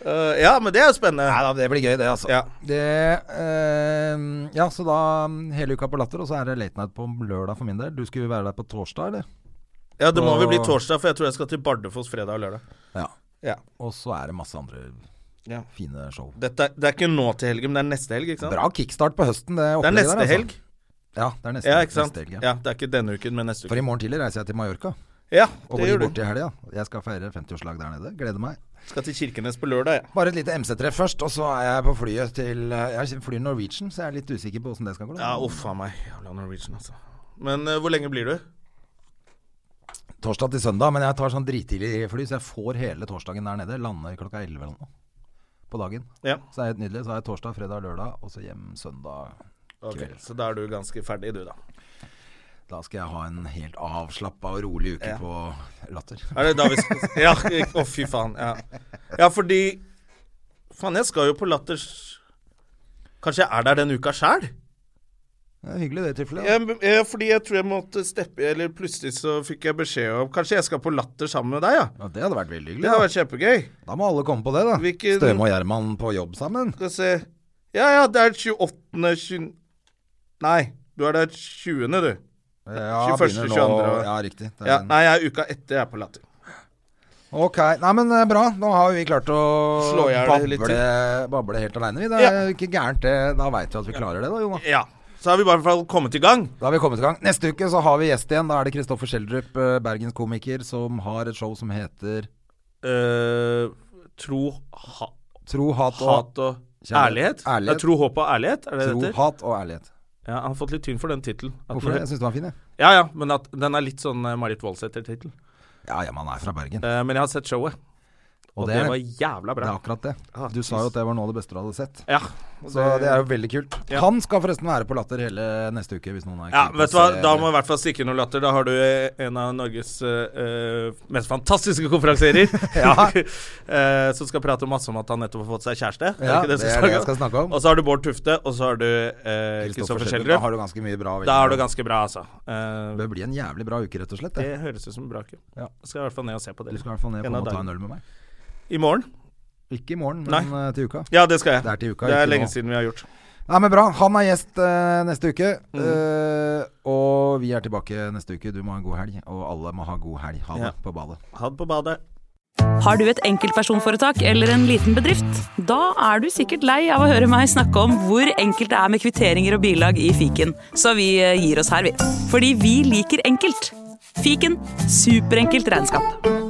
Eh, ja, men det er jo spennende. Nei da, det blir gøy, det, altså. Ja. Det, eh, ja, så da mm, hele uka på Latter, og så er det Late Night på lørdag for min del. Du skulle være der på torsdag, eller? Ja, det må vel bli Og- torsdag, for jeg tror jeg skal til Bardufoss fredag og lørdag. Ja. Ja. Og så er det masse andre Ja. fine show. Dette, er- det er ikke nå til helgen, men det er neste helg, ikke sant? Bra kickstart på høsten, det Det er opplegget der. neste altså. helg. Ja, det er neste, Ja, ikke sant? neste helg. Ja. Ja, Det er ikke denne uken, men neste For uke. i morgen tidlig reiser jeg til Mallorca Ja, og det blir gjør du. borte i helga. Jeg skal feire 50-årslag der nede. Gleder meg. Skal til Kirkenes på lørdag, ja. Bare et lite MC-treff først, og så er jeg på flyet til eh, Jeg flyr Norwegian, så jeg er litt usikker på åssen det skal gå. da. Ja, uff a meg. Jævla Norwegian, altså. Men eh, hvor lenge blir du? Torsdag til søndag, men jeg tar sånn drittidlig fly, så jeg får hele torsdagen der nede. Lander klokka 11 eller noe på dagen. Ja. Så det er helt nydelig. Så er jeg torsdag, fredag, lørdag, og så hjem søndag. Ok, Kveld. Så da er du ganske ferdig, du, da. Da skal jeg ha en helt avslappa og rolig uke Ja. på Latter. Er det da vi skal *laughs* Ja, å fy faen. Ja, ja fordi Faen, jeg skal jo på Latters Kanskje jeg er der den uka sjæl? Det er hyggelig det, tilfellet. da. Jeg- jeg- Fordi jeg tror jeg måtte steppe Eller plutselig så fikk jeg beskjed om Kanskje jeg skal på Latter sammen med deg, ja. Ja, det hadde vært veldig Det hyggelig. har Da. vært kjempegøy. da må alle komme på det, da. Hvilken- Støme og Gjerman på jobb sammen. Skal vi se Ja ja, det er 28. 20... Nei, du er der 20., du. *laughs* Ja, 21., begynner nå- 22., og- Ja, riktig. Det er Ja, en- nei, jeg er uka etter jeg er på Latter. Ok, nei men eh, bra. Nå har jo vi klart å Slå i hjel det litt bable, bable helt aleine. vi. Det er ikke gærent, det. Da veit vi at vi klarer det, da, Jonas. Ja. Så har vi i hvert fall kommet i gang. Da har vi kommet i gang. Neste uke så har vi gjest igjen. Da er det Kristoffer Schjelderup, eh, bergenskomiker, som har et show som heter eh tro, ha, Tro, hat og hat og ærlighet. Kjærlighet. Det er tro, håp og ærlighet, er det Tro, det heter? hat og ærlighet. Ja, han har fått litt tynn for den tittelen. At Hvorfor det? den- Jeg syns den var fin, jeg. Ja ja, men at den er litt sånn eh, Marit Voldsæter-tittel. Ja, ja, man er fra Bergen. Eh, men jeg har sett showet, og, Og det, det er, var det jævla er bra. akkurat det. Ah, Du sa jo at det var noe av det beste du hadde sett. Ja. Så det er jo veldig kult. Ja. Han skal forresten være på Latter hele neste uke, hvis noen er ja, keen på vet du å hva, se- da må i hvert fall stikke noe latter. Da har du eh, en av Norges eh, eh, mest fantastiske konferansierer. *laughs* Ja. *laughs* Eh, som skal prate masse om at han nettopp har fått seg kjæreste. Er Ja, ikke det som er skal- det jeg skal snakke om. Og så har du Bård Tufte, og så har du eh, Kristoffer Da Schjelderup. har du ganske mye bra. Da er du veldig bra. ganske bra, altså. Eh, Det blir en jævlig bra uke, rett og slett. det Det. høres ut som en bra kø. Ja. Skal jeg i hvert fall ned og se på Du det. skal i hvert fall ned på En av og ta dagene. en øl med meg. I morgen? Ikke i morgen, men Nei. eh, til uka. Ja, det skal jeg. Det er til uka, Det ikke er lenge nå. siden vi har gjort. Nei, men bra. Han er gjest eh, neste uke. Eh, og vi er tilbake neste uke. Du må ha en god helg, og alle må ha god helg. Ha det Ja. på badet. Ha det på badet. Har du et enkeltpersonforetak eller en liten bedrift? Da er du sikkert lei av å høre meg snakke om hvor enkelt det er med kvitteringer og bilag i fiken, så vi eh, gir oss her, vi. Fordi vi liker enkelt. Fiken superenkelt regnskap.